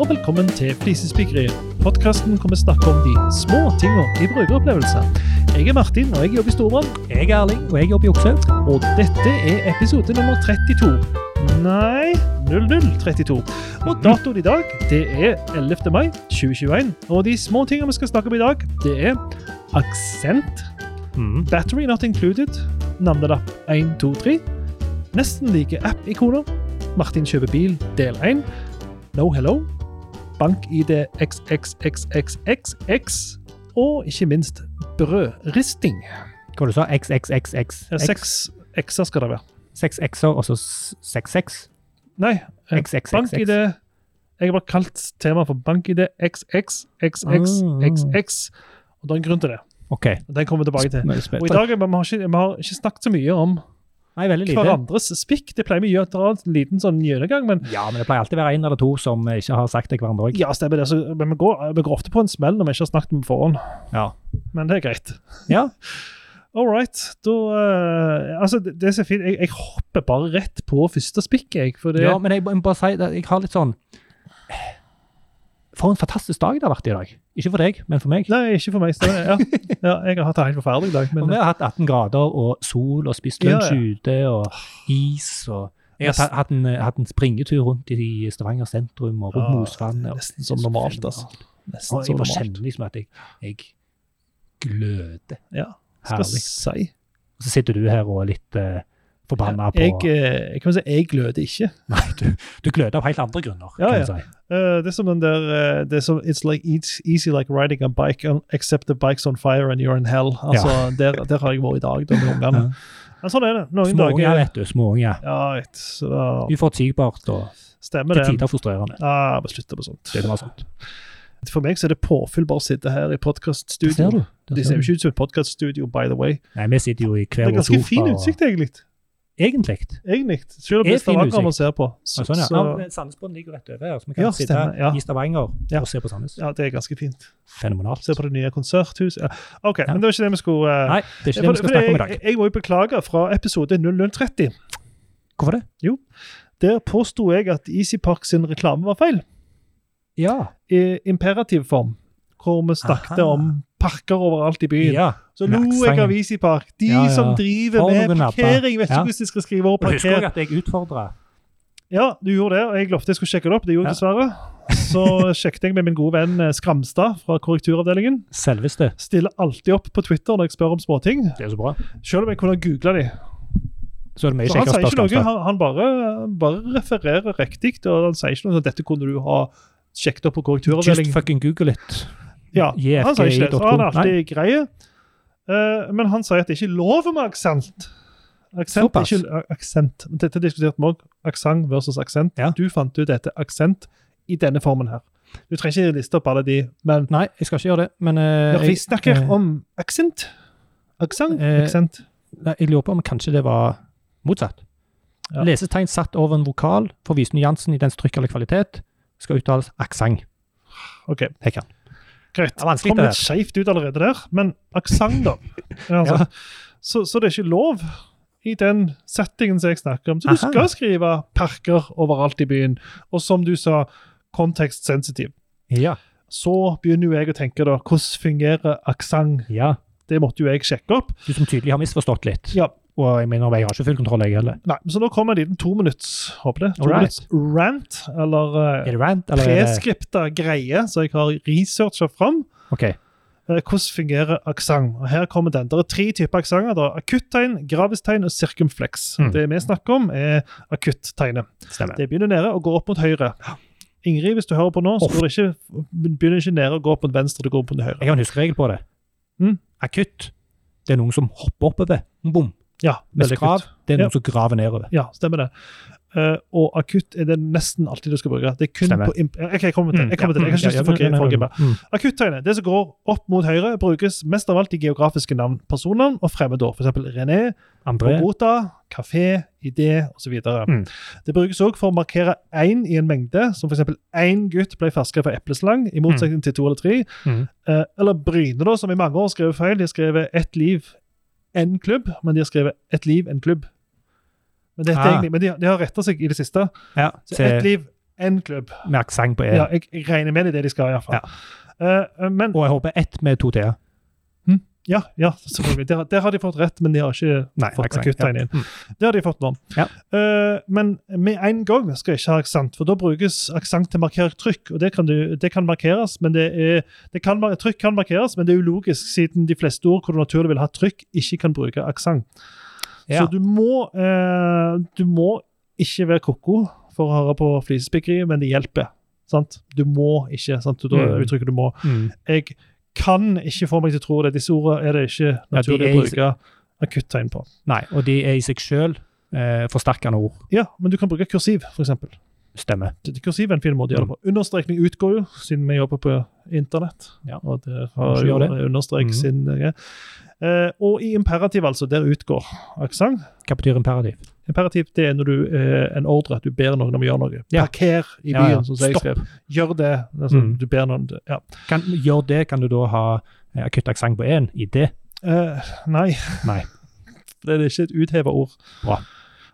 og velkommen til Flisespikkeriet. Podkasten hvor vi snakker om de små tinga i brukeropplevelser. Jeg er Martin, og jeg jobber i Storbrann. Jeg er Erling, og jeg jobber i Oppshaug. Og dette er episode nummer 32. Nei 0032. Og datoen i dag det er 11. mai 2021. Og de små tinga vi skal snakke om i dag, det er aksent, battery not included, navnelapp 123, nesten like app-ikoner, Martin kjøper bil del 1, No Hello, bank-ID XXXXXX, og ikke minst brødristing. Hva du sa du? XXXX? Ja, Seks X-er skal det være. Seks X-er, og så s- seks X? Nei, eh, XXXX. bank-ID Jeg har bare kalt temaet for bank-ID Ah. XXXXXX. Og det er en grunn til det. OK. og Den kommer vi tilbake til. Nå er jeg spent. Og i dag, vi har ikke, vi har ikke snakket så mye om Nei, veldig lite. hverandres spikk. Det pleier vi å gjøre dra en liten sånn gjennomgang, men Ja, men det pleier alltid å være en eller to som ikke har sagt det til hverandre òg. ja, stemmer det. Så, men vi går, vi går ofte på en smell når vi ikke har snakket om forhånd. Ja. Men det er greit. Ja. All right. Da eh, Altså, det, det som er fint jeg, jeg hopper bare rett på første spikk, jeg. For det, ja, men jeg må bare si at jeg har litt sånn For en fantastisk dag det har vært i dag. Ikke for deg, men for meg. Nei, ikke for meg. Stemmer det. Ja. ja, jeg har hatt en helt forferdelig dag. Og Men vi har hatt 18 grader og sol og spist lunsj Ja, ja. ute og is og Jeg har Nesten- ta- hatt en, hatt en springetur rundt i Stavanger sentrum og Ja, rundt Mosvannet. og- Ah, nesten som normalt, altså. nesten Og jeg som bare normalt. kjenner liksom at jeg, jeg gløder. Ja, skal Herlig. si. Og så sitter du her og er litt uh, forbanna Jeg, på eh, jeg kan si jeg gløder ikke. Nei, du, du gløder av helt andre grunner, Ja, kan ja. du si. Eh, det er som den der eh, det er som, It's like it's easy like riding a bike un- except the bike's on fire and you're in hell. Altså, der, der har jeg vært i dag da, med ungene. Men sånn er det. Noen Småunger, dager vet du. Småunger. ja, vet, så da Uforutsigbart og stemmer til det. tider frustrerende. Ah, jeg må slutte med sånt. Det er det bare sånt. For meg så er det påfyll bare å sitte her i Der ser podkaststudio. du. Der Det ser ser jo du. ikke ut som et podkaststudio, by the way. Nei, vi sitter jo i Det hver er vår ganske fin og- utsikt, egentlig. Egentlig. egentlig. Selv om Er det er fin utsikt. Stavanger vi ser på. Så, Ja, sånn, ja. så, ja, men Sandnesbånd ligger rett over her, så vi kan Ja, sitte stemmer, ja. i Stavanger Ja. og se på Sandnes. ja, det er ganske fint. Fenomenalt. Se på det nye konserthuset. Ja. OK, Ja. men det var ikke det vi skulle eh, Nei, det er ikke det for- vi skal for snakke om i jeg, dag. jeg må jo beklage fra episode 0030. Hvorfor det? Der påsto jeg at Easypark sin reklame var feil. Ja. I imperativ form. Hvor vi snakket Aha. om parker overalt i byen. ja. Så lo jeg Merksangen. av Easypark. De Ja, ja. som driver For med noen napper. parkering, vet ikke Ja. hvordan de skal skrive over Og husker parker. også at jeg utfordra. Ja, du gjorde det, og jeg lovte jeg skulle sjekke det opp. Det gjorde jeg dessverre. Så sjekket jeg med min gode venn eh, Skramstad fra korrekturavdelingen. Selveste. Stiller alltid opp på Twitter når jeg spør om småting, Det er så bra. selv om jeg kunne googla de. Så er det mye Så han kjekkere sier ikke noe, spørsmål. han, han bare, bare refererer riktig, og han sier ikke noe sånn, dette kunne du ha sjekket opp på Just korrekturavdelingen. fucking google it. Ja, E han sier ikke det, så han er alltid grei. Eh, men han sier at det ikke er lov med aksent. Aksent er Såpass. ikke a- aksent. Dette diskuterte vi òg. Aksent versus aksent. Ja. Du fant ut dette aksent i denne formen her. Du trenger ikke liste opp alle de, men Nei, jeg skal ikke gjøre det, men eh, når vi snakker eh, om aksent Aksent? Eh, aksent. nei, jeg lurer på om kanskje det var motsatt. Ja. Lesetegn satt over en vokal for Visen Jansen i dens trykk eller kvalitet skal uttales aksent. OK, Det kan. greit. Det er vanskelig, Kom det litt der. skeivt ut allerede der, men aksent, da. Ja, altså. Ja. så, så det er ikke lov i den settingen som jeg snakker om. Så du Aha. skal skrive parker overalt i byen. Og som du sa, kontekstsensitiv. Ja. Så begynner jo jeg å tenke da, hvordan fungerer aksent? ja. Det måtte jo jeg sjekke opp. Du som tydelig har misforstått litt. Ja, Og jeg mener, jeg har ikke full kontroll, jeg heller. nei, Så nå kommer en liten to minutts, håper det, to Alright. minutts rant, eller eh, Er det rant, eller er det preskripta greie som jeg har researcha fram. OK. Eh, Hvordan fungerer aksent? Og Her kommer den. Det er tre typer aksenter. Det er Akuttegn, gravistegn og sirkumfleks. Mm. Det vi snakker om, er akuttegnet. Stemmer. Det begynner nede og går opp mot høyre. Ingrid, hvis du hører på nå, så Off. går det ikke, begynner ikke nede og går opp mot venstre. Det går opp mot høyre. Jeg har en huskeregel på det. Mm. Akutt. Det er noen som hopper oppover. Bom. Ja, Mens veldig grav, akutt. det er Ja. noen som graver nedover. Ja, stemmer det. Eh, og akutt er det nesten alltid du skal bruke. Det er kun Stemmer. på imp OK, jeg kommer til det. Jeg kommer til det. Jeg har ikke lyst til å Mm, ja, forgri- ja, ja, ja, foregripe. ja, ja. Mm. Akuttegnet, det som går opp mot høyre, brukes mest av alt i geografiske navn, personnavn og fremmedord. For eksempel René, André. Bogota, kafé, idé osv. Mm. Det brukes òg for å markere én i en mengde, som f.eks. én gutt ble ferska for epleslang, i motsetning til to eller tre. Mm. Eh, eller Bryne, da, som i mange år har skrevet feil. De har skrevet ett liv, én klubb, men de har skrevet ett liv, en klubb. Men, dette er Ah. egentlig, men de, de har retta seg i det siste. Ja, Så til- ett liv, én klubb. med aksent på E. Ja, jeg, jeg regner med det er det de skal, iallfall. Ja. Uh, men Og jeg håper ett med to t-er. Ja, ja selvfølgelig. Der, der har de fått rett, men de har ikke Nei, fått aksent, akutt ja. tegn inn. Mm. Det har de fått nå. Ja. Eh, men med en gang skal jeg ikke ha aksent, for da brukes aksent til markert trykk. og det kan, du, det kan markeres, men det er, det kan, mar- Trykk kan markeres, men det er ulogisk, siden de fleste ord hvor du naturlig vil ha trykk, ikke kan bruke aksent. Ja. Så du må, eh, du må ikke være koko for å høre på flisespikkeriet, men det hjelper. Sant? Du må ikke. sant? Du, Mm. Uttrykket du må. Mm. Jeg kan ikke få meg til å tro det. Disse ordene er det ikke naturlig å er i- bruke akuttegn på. Nei, og de er i seg sjøl eh, forsterkende ord. Ja, men du kan bruke kursiv, f.eks. Stemmer. Kursiv er en fin måte å Mm. gjøre det på. Understrekning utgår jo, siden vi jobber på internett. Ja. Og det Kanskje har jo gjør det. understrek Mhm. sin greie. Eh, og i imperativ, altså, der utgår aksent. Hva betyr imperativ? Imperativ det er når du eh, en ordre, at du ber noen om å gjøre noe. Ja. Parker i byen, Ja, ja. som jeg Stopp. skrev. Gjør det. Altså, Mhm. Du ber noen ja. Kan, gjør det, kan du da ha eh, akutt aksent på én i det? Eh, nei. Nei. det er ikke et utheva ord. Bra.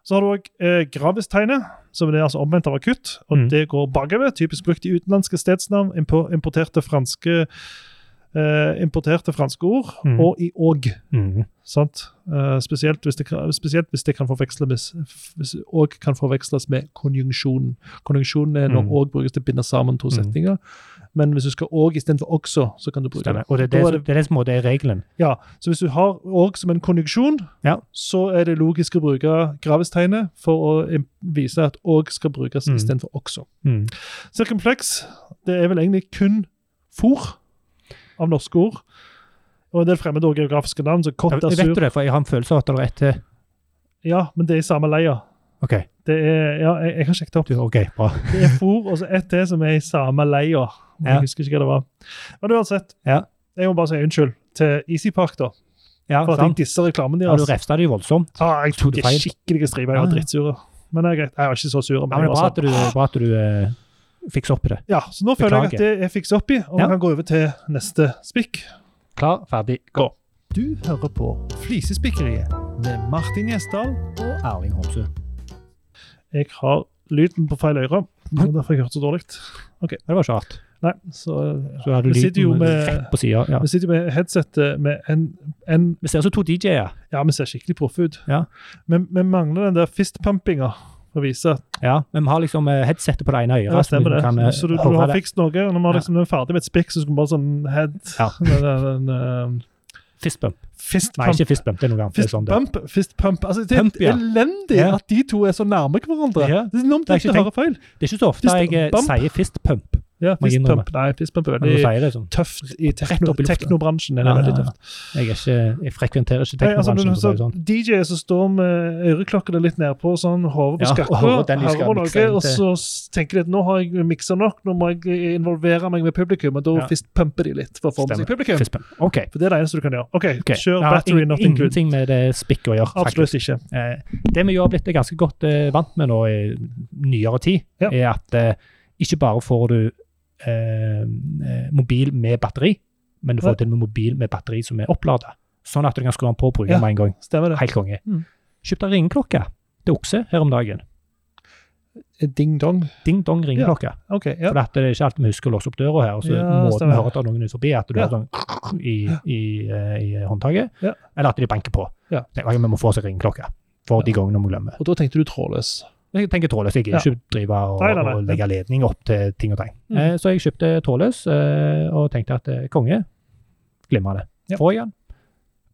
Så har du òg eh, gravistegnet, som er altså omvendt av akutt. og Mm. Det går bakover, typisk brukt i utenlandske stedsnavn, impo- importerte franske eh, importerte franske ord, Mm. og i og. Mm. Sant? Eh, spesielt, hvis det, kan- spesielt hvis det kan forveksles med, hvis og kan forveksles med konjunksjonen. Konjunksjonen er når Mm. og brukes til å binde sammen to Mm. setninger. Men hvis du skal og istedenfor også, så kan du bruke det. Stemmer. Og det er Da det, er som- det er det som på en måte er regelen. Ja, så hvis du har org som en konjunksjon, Ja. så er det logisk å bruke gravistegnet for å im- vise at org skal brukes Mm. istedenfor også. Mm. Cirkumfleks det er vel egentlig kun for av norske ord. Og en del fremmede og geografiske navn, så Jeg, kott er jeg vet jo sur. det, for jeg har en følelse av at det er ett til. Ja, men det er i samme leia. OK, Det er, ja, jeg, jeg har sjekket opp. du, ok, bra. Det er for og så ett til som er i samme leia. Men Ja. Jeg husker ikke hva det var. Men uansett, Ja. jeg må bare si unnskyld til Easy Park, da. Ja, For at jeg sant? disser reklamen Ja, du deres. refsa det jo voldsomt. Ah, jeg Tok tok du ikke feil? skikkelig striper. Jeg Ah, var ja. drittsur. Men det er greit. Jeg var ikke så sur. Ja, men det jeg er var bra sånn. at du, bra at du eh, fikser opp i det. ja, så nå føler jeg at det Beklager. er fikset opp i, og vi Ja. kan gå over til neste spikk. Klar, ferdig, gå. Du hører på Flisespikkeriet med Martin Gjesdal. Og Erling Homsø. Jeg har lyden på feil øre, og derfor har jeg hørt så dårlig. Det var ikke rart. Nei, så eh, Så Vi hadde lyden sitter jo med- rett på sida. Ja. Vi sitter med headsetet med en, en Vi ser også to DJ-er. Ja, vi ser skikkelig proffe ut. Ja. Men vi mangler den der fistpumpinga for å vise at Ja, men vi har liksom eh, headsetet på det ene øret. ja, så vi stemmer det. kan, eh, så du, du høre har det. fikst noe, og når vi Ja. har liksom den ferdig med et spikk, så skulle vi bare sånn head Ja. den, den, den, eh, Fist bump. Fist Nei, pump. ikke fist bump, det er noe annet. Det Fist er sånn det. pump, fist pump. Altså, det er Pump, ja. elendig Ja. at de to er så nærme hverandre. Ja. Det er enormt Det er lett ikke å høre feil. Det er ikke så ofte Fist jeg eh, bump. sier fist pump. Ja, Må jeg fist innrømme. pump. Nei, fist pump er Men du veldig sier det sånn. tøft i Rett tekno, opp i lufta. teknobransjen. er det Ja, veldig ja, tøft. Jeg, er ikke, jeg frekventerer ikke Nei, altså, men teknobransjen. for å si det så sånn. DJ-er som står med øreklokkene litt nedpå, sånn, hodet på Ja, og skakka, hører den de skal hører mikse noe, inn og til- så s- tenker de at nå har jeg miksa nok, nå må jeg involvere meg med publikum, og da Ja. fistpumper de litt for å få med seg Stemmer. publikum. sånn. Fist bump. OK. For det er det eneste du kan gjøre. OK, ok. kjør Det har battery ing- not included. Ingenting med det spikket å gjøre. faktisk. Absolutt ikke. Eh, Det vi jo har blitt ganske godt eh, vant med nå i nyere tid, Ja. er at eh, ikke bare får du eh, eh, mobil med batteri, men du Ja. får til og med mobil med batteri som er opplada. Sånn at du kan skru den på og bruke den Ja. med en gang. Stemmer det. Helt konge. Mm. Kjøpte ringeklokke til okse her om dagen. Ding dong. Ding-dong ringeklokke. OK. ja. For det er ikke alltid vi husker å låse opp døra her. og så Ja, måten stemmer. vi hører at det er noen er forbi, er at du Ja. har sånn i, i, eh, i håndtaket, Ja. eller at de banker på. Ja. Tenk, «Oi, vi må få oss en ringeklokke for de gangene vi glemmer. Og da tenkte du trådløs. Jeg tenker trådløs. Jeg gidder ikke drive og, Nei, nei, nei. og legge ledning opp til ting og tang. Mm. Eh, så jeg kjøpte trådløs eh, og tenkte at eh, konge, glimrende. Ja. Får jeg den?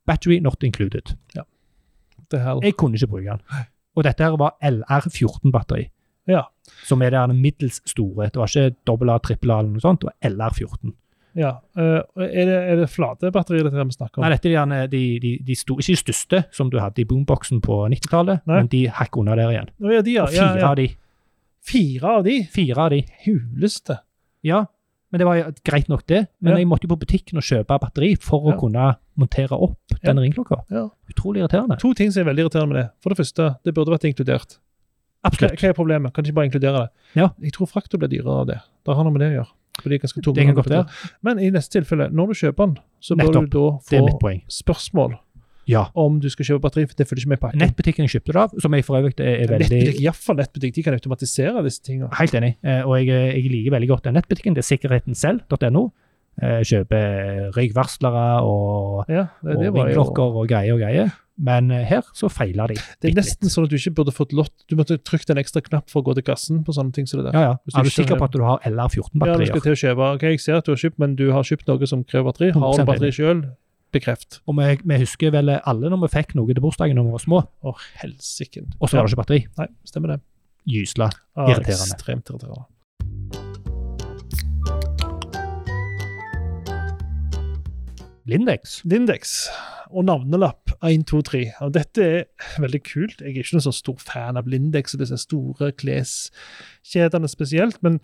Battery not included. Det her. Jeg kunne ikke bruke den. Og dette her var LR14-batteri. Ja. Som er den middels store. Det var ikke dobbel A, trippel A eller noe sånt. Det var LR14. Ja. eh, er, det, er det flate batterier dette her vi snakker om? Nei, dette er gjerne de, de, de sto, ikke de største som du hadde i boomboxen på 90-tallet, Nei. men de hakk under der igjen. Å, ja, de, ja, Og ja, fire ja. av de. Fire av de? Fire av de. Huleste. Ja, men det var jo greit nok det. Men Ja. jeg måtte jo på butikken og kjøpe batteri for å Ja. kunne montere opp den ringklokka. Ja. Utrolig irriterende. To ting som er veldig irriterende med det. For det første, det burde vært inkludert. Hva, Absolutt. hva er problemet? Kan de ikke bare inkludere det? Ja. Jeg tror frakta blir dyrere av det. Det har noe med det å gjøre. For de er ganske tunge. Det kan godt være. Men i neste tilfelle, når du kjøper den, så bør Nettopp. du da Det er få mitt poeng. spørsmål Ja. om du skal kjøpe batteri, for det følger ikke med i pakken. Nettbutikken jeg kjøpte det av, som jeg for øvrig er, er veldig Nettbutikk, i hvert fall nettbutikk, de kan automatisere disse tingene. Helt enig. Eh, Og jeg, jeg liker veldig godt den nettbutikken. Det er sikkerhetenselv.no. Eh, Kjøper røykvarslere og, Ja, det, det, og var jo, ringklokker og greier og greier. Men eh, her så feiler de. det er bitte litt. nesten sånn at du ikke burde fått lott. Du måtte trykt en ekstra knapp for å gå til kassen på sånne ting som det der. Ja, ja. Hvis du Er du ikke- sikker på at du har Ja, du LR14-batterier? skal til å kjøpe. Ok, jeg ser at du har kjøpt, men du har kjøpt noe som krever batteri. Har du 100% batteri sjøl? Bekreft. Og vi, vi husker vel alle når vi fikk noe til bursdagen når vi var små, Å, helsike. og så var det ikke batteri. Nei, stemmer det. Gysla. Ah, Irriterende. Ekstremt irriterende. Lindex. Lindex og navnelapp 123. Ja, dette er veldig kult. Jeg er ikke noen sånn stor fan av Lindex og disse store kleskjedene spesielt, men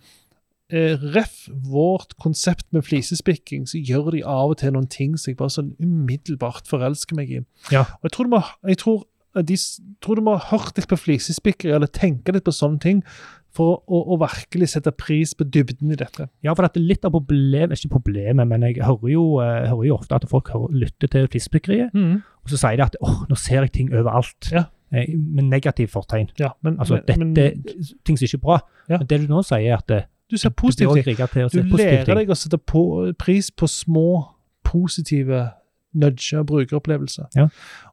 eh, ref vårt konsept med flisespikking, så gjør de av og til noen ting som jeg bare sånn umiddelbart forelsker meg i. Ja. Og jeg tror du må, jeg tror, de, s- tror du må ha hørt litt på flisespikkeri eller tenke litt på sånne ting for å, å virkelig sette pris på dybden i dette. Ja, for at litt av problemet, ikke problemet, men jeg hører jo, eh, hører jo ofte at folk hører, lytter til Fiskebryggeriet, og så sier de at åh, nå ser jeg ting overalt. Ja. Eh, Med negativt fortegn. Ja, men, Altså, men, men dette, ting som ikke er bra. Ja. Men det du nå sier, er at eh, du ser du blir positivt også rigget til å se Du positive lærer ting. deg å sette på, pris på små, positive nudger og brukeropplevelser. Ja.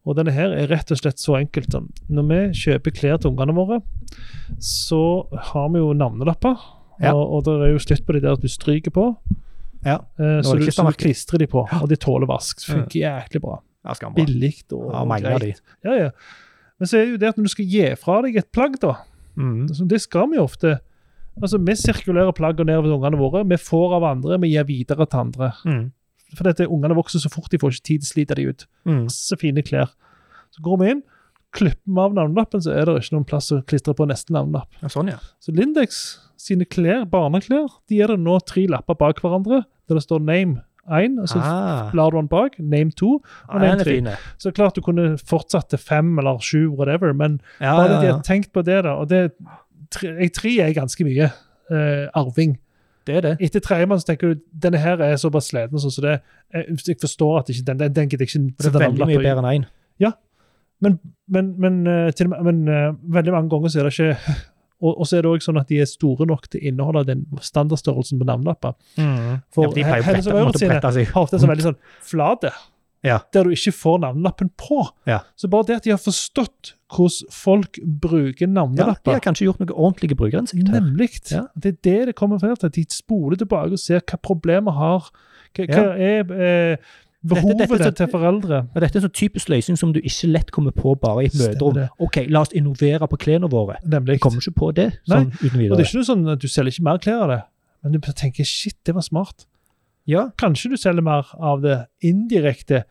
Og denne her er rett og slett så enkelt. som Når vi kjøper klær til ungene våre, så har vi jo navnelapper. Ja. Og, og det er jo slutt på de der at du stryker på. Ja. Eh, så, du, det ikke så du standardklipp. klistrer de på, og de tåler vask. Det Funker jæklig bra. Ja, skambra. Billig og Ja, mangler de. Ja, ja. Men så er det jo det at når du skal gi fra deg et plagg, da, Mm. så det skal vi jo ofte. Altså, Vi sirkulerer plagget nedover til ungene våre. Vi får av andre, vi gir videre til andre. Mm. For dette, ungene vokser så fort de får ikke tid til å slite de ut. Mm. Masse fine klær. Så går vi inn, klipper vi av navnelappen, så er det ikke noen plass å klistre på neste navnelapp. Ja, sånn, ja. Så Lindex sine klær, barneklær, de er det nå tre lapper bak hverandre, der det står name 1, og så ah, lar du den bak, name 2. ja, den en er til. fin. Ja, Så klart du kunne fortsatt til fem eller sju, whatever, men bare ja, de ja. har tenkt på det, da. Og det, tre, jeg, tre er ganske mye eh, arving. Det er det. Etter tredjemann så tenker du denne her er såpass sliten sånn som det. er. Jeg jeg forstår at ikke den, den, den gidder jeg ikke Det er sette veldig mye navnelapper i. bedre enn én. Men, men, men, eh, til, og med- men eh, veldig mange ganger så er det ikke og, og så er det også sånn at de er store nok til å inneholde den standardstørrelsen på navnelapper. Mm. For ja, for de pleier å Hennes brette- og Maurits måtte sine brette seg. Mm. Har ofte en sånn veldig sånn flate, Mhm. Ja. der du ikke får navnelappen på. Ja. Så bare det at de har forstått hvordan folk bruker Ja, de navnelapper har kanskje gjort noe ordentlige brukerinnsikt her. Nemlig. Ja. Det er det det kommer frem til. at De spoler tilbake og ser hva problemet har. Hva, hva er eh, behovet Dette- dette- til foreldre? Og dette er en sånn typisk løsning som du ikke lett kommer på bare i et Stemmer møterom. det. Ok, la oss innovere på klærne våre. Nemlig. Jeg kommer ikke på det Nei, sånn uten Og det videre. er ikke noe sånn at du selger ikke mer klær av det, men du bare tenker shit, det var smart. Ja, Kanskje du selger mer av det indirekte,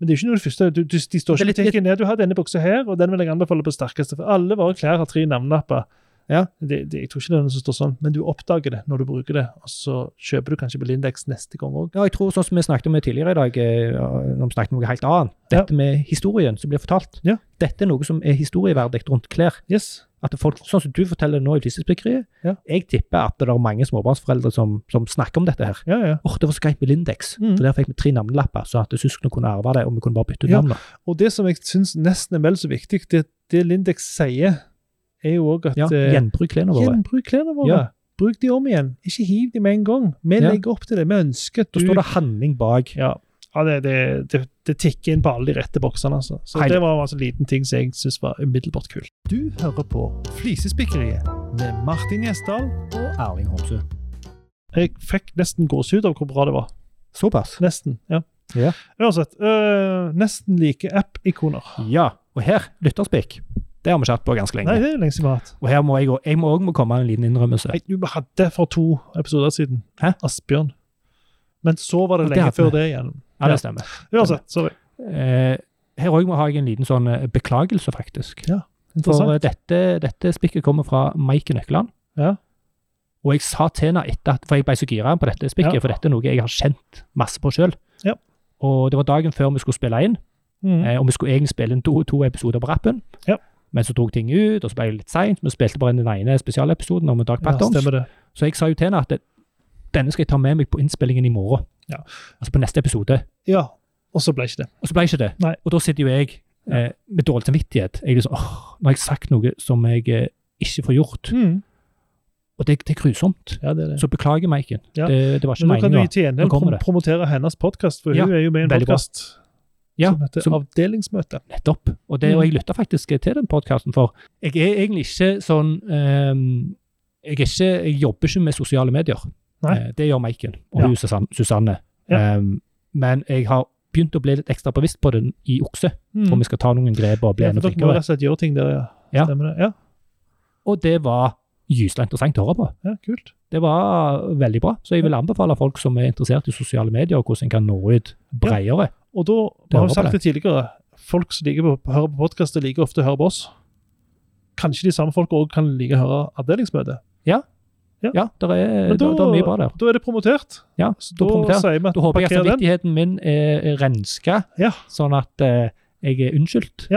men det er jo ikke noe av det første. Du, du, de står Det er ikke litt- og tenker ned, du har denne buksa her, og den vil jeg anbefale på sterkeste. For alle våre klær har tre navnelapper. Ja. Det, det, jeg tror ikke det er noen som står sånn, men du oppdager det når du bruker det, og så kjøper du kanskje på Lindex neste gang òg. ja, jeg tror sånn som vi snakket om tidligere i dag, eh, ja, når vi snakket om noe helt annet, dette med historien som blir fortalt. Ja. Dette er noe som er historieverdig rundt klær. Yes. At folk, sånn som du forteller nå i Tissespikkeriet, Ja. jeg tipper at det er mange småbarnsforeldre som, som snakker om dette her. Ja, ja. Åh, det var så greit med Lindex, Mm. for der fikk vi tre navnelapper, så at søskene kunne arve det, og vi kunne bare bytte ut Ja. navn. da. Og det som jeg syns nesten er vel så viktig, det, det Lindex sier, er jo òg at Ja, eh, gjenbruk klærne våre. Gjenbruk klærne våre. Ja. Bruk de om igjen. Ikke hiv de med en gang. Vi Ja. legger opp til det. Vi ønsker at du Da står det handling bak. Ja, ja det, det, det, det tikker inn på alle de rette boksene. Altså. Så Hei. det var altså en liten ting som jeg syns var umiddelbart kult. Du hører på Flisespikkeriet med Martin Gjesdal. og Erling Homsø. Jeg fikk nesten gåsehud av hvor bra det var. Såpass. Nesten. ja. Ja. Uansett. øh, nesten like app-ikoner. Ja, og her, lytterspikk. Det har vi ikke hatt på ganske Nei, lenge. det er lenge siden vi har hatt. Og her må jeg òg jeg må også må komme med en liten innrømmelse. Nei, du, vi hadde for to episoder siden Hæ? Asbjørn. Men så var det Ja, det lenge hadde før vi. det igjen. Ja, Ja. det stemmer. Uansett, sorry. Eh, her òg har jeg en liten sånn eh, beklagelse, faktisk. Ja, For Interessant. eh, dette, dette spikket kommer fra Maiken Nøkkeland. Ja. Og jeg sa til henne etter at For jeg ble så gira på dette spikket, Ja. for dette er noe jeg har kjent masse på sjøl. Ja. Og det var dagen før vi skulle spille inn, Mm. eh, og vi skulle egentlig spille inn to, to episoder på rappen. Ja. Men så tok ting ut, og så ble det litt seint. Vi spilte bare inn den ene spesialepisoden om Dag Ja, Patton. stemmer det. Så jeg sa jo til henne at denne skal jeg ta med meg på innspillingen i morgen. Ja. Altså på neste episode. Ja, Og så ble ikke det. Og så ble ikke det. Nei. Og da sitter jo jeg eh, med dårlig samvittighet. Jeg er liksom, åh, Nå har jeg sagt noe som jeg eh, ikke får gjort. Og det, det er grusomt. Ja, det er det. Mm. Så beklager, Maiken. Ja. Det, det var ikke Men nå kan du meningen. i da. tjenhjel Nå kommer prom det. promotere hennes podkast, for Ja, hun er jo med i en veldig bra. podkast Ja, som heter som, Avdelingsmøte. nettopp. Og, det, Mm. og jeg lytta faktisk til den podkasten, for jeg er egentlig ikke sånn ehm, jeg, er ikke, jeg jobber ikke med sosiale medier. Nei. Eh, Det gjør Maiken og Ja. hun Susanne. Susanne. Ja. Ehm, men jeg har begynt å bli litt ekstra bevisst på den i Okse, Mm. for vi skal ta noen grep og bli Ja, for enda dere må rett flinkere. og slett gjøre ting der, ja. Ja. Stemmer det? Ja, Og det var gyselig interessant å høre på. ja kult. Det var veldig bra. Så jeg vil anbefale folk som er interessert i sosiale medier, og hvordan en kan nå ut bredere. Og da, Det vi har håper jo sagt jeg. det tidligere, folk som liker å høre på podkaster, liker ofte å høre på oss. Kanskje de samme folk òg kan like å høre Avdelingsmøtet. Ja, det er, Men der, da- der er mye bra der. Da er det promotert. Ja, så da da promotert. sier vi at Da håper jeg at parker den, samvittigheten min er er renska, Ja. sånn at eh, jeg er unnskyldt.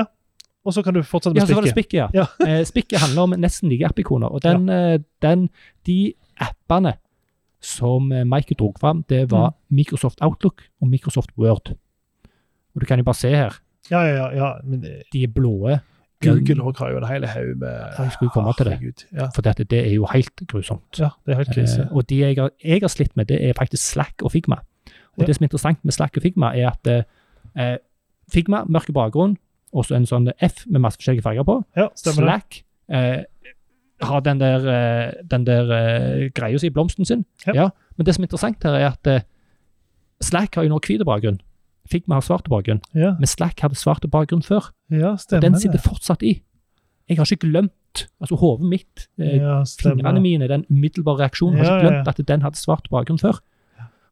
og så kan du fortsette Ja, med så var det stikket. spikket, ja. Ja. Eh, spikket handler om nesten like app-ikoner. Og den, eh, den, de appene som eh, Mike dro fram, det var Mm. Microsoft Outlook og Microsoft Word. Og du kan jo bare se her, Ja, ja, ja, ja. Men eh, de er blåe. Google også har jo en hel haug med Ja, jeg skulle komme til det. Herregud. Ja, For dette, det er jo helt grusomt. ja, det er helt krise. Eh, og de jeg har, jeg har slitt med, det er faktisk Slack og Figma. Og Ja. det som er interessant med Slack og Figma, er at eh, Figma, mørke bakgrunn, og så en sånn F med masse forskjellige farger på. Ja, stemmer det. Slack eh, har den der, eh, den der eh, greia si, blomsten sin. Ja. Men det som er interessant her, er at eh, Slack har jo nå hvit bakgrunn. Figma har svart bakgrunn. Ja, Men Slack hadde svart bakgrunn før. ja Og stemmer den det. sitter fortsatt i. Jeg har ikke glemt, altså hodet mitt, eh, Ja, fingrene stemmer. mine, den umiddelbare reaksjonen. Har Ja, ikke ja, ja. glemt at den hadde svart bakgrunn før.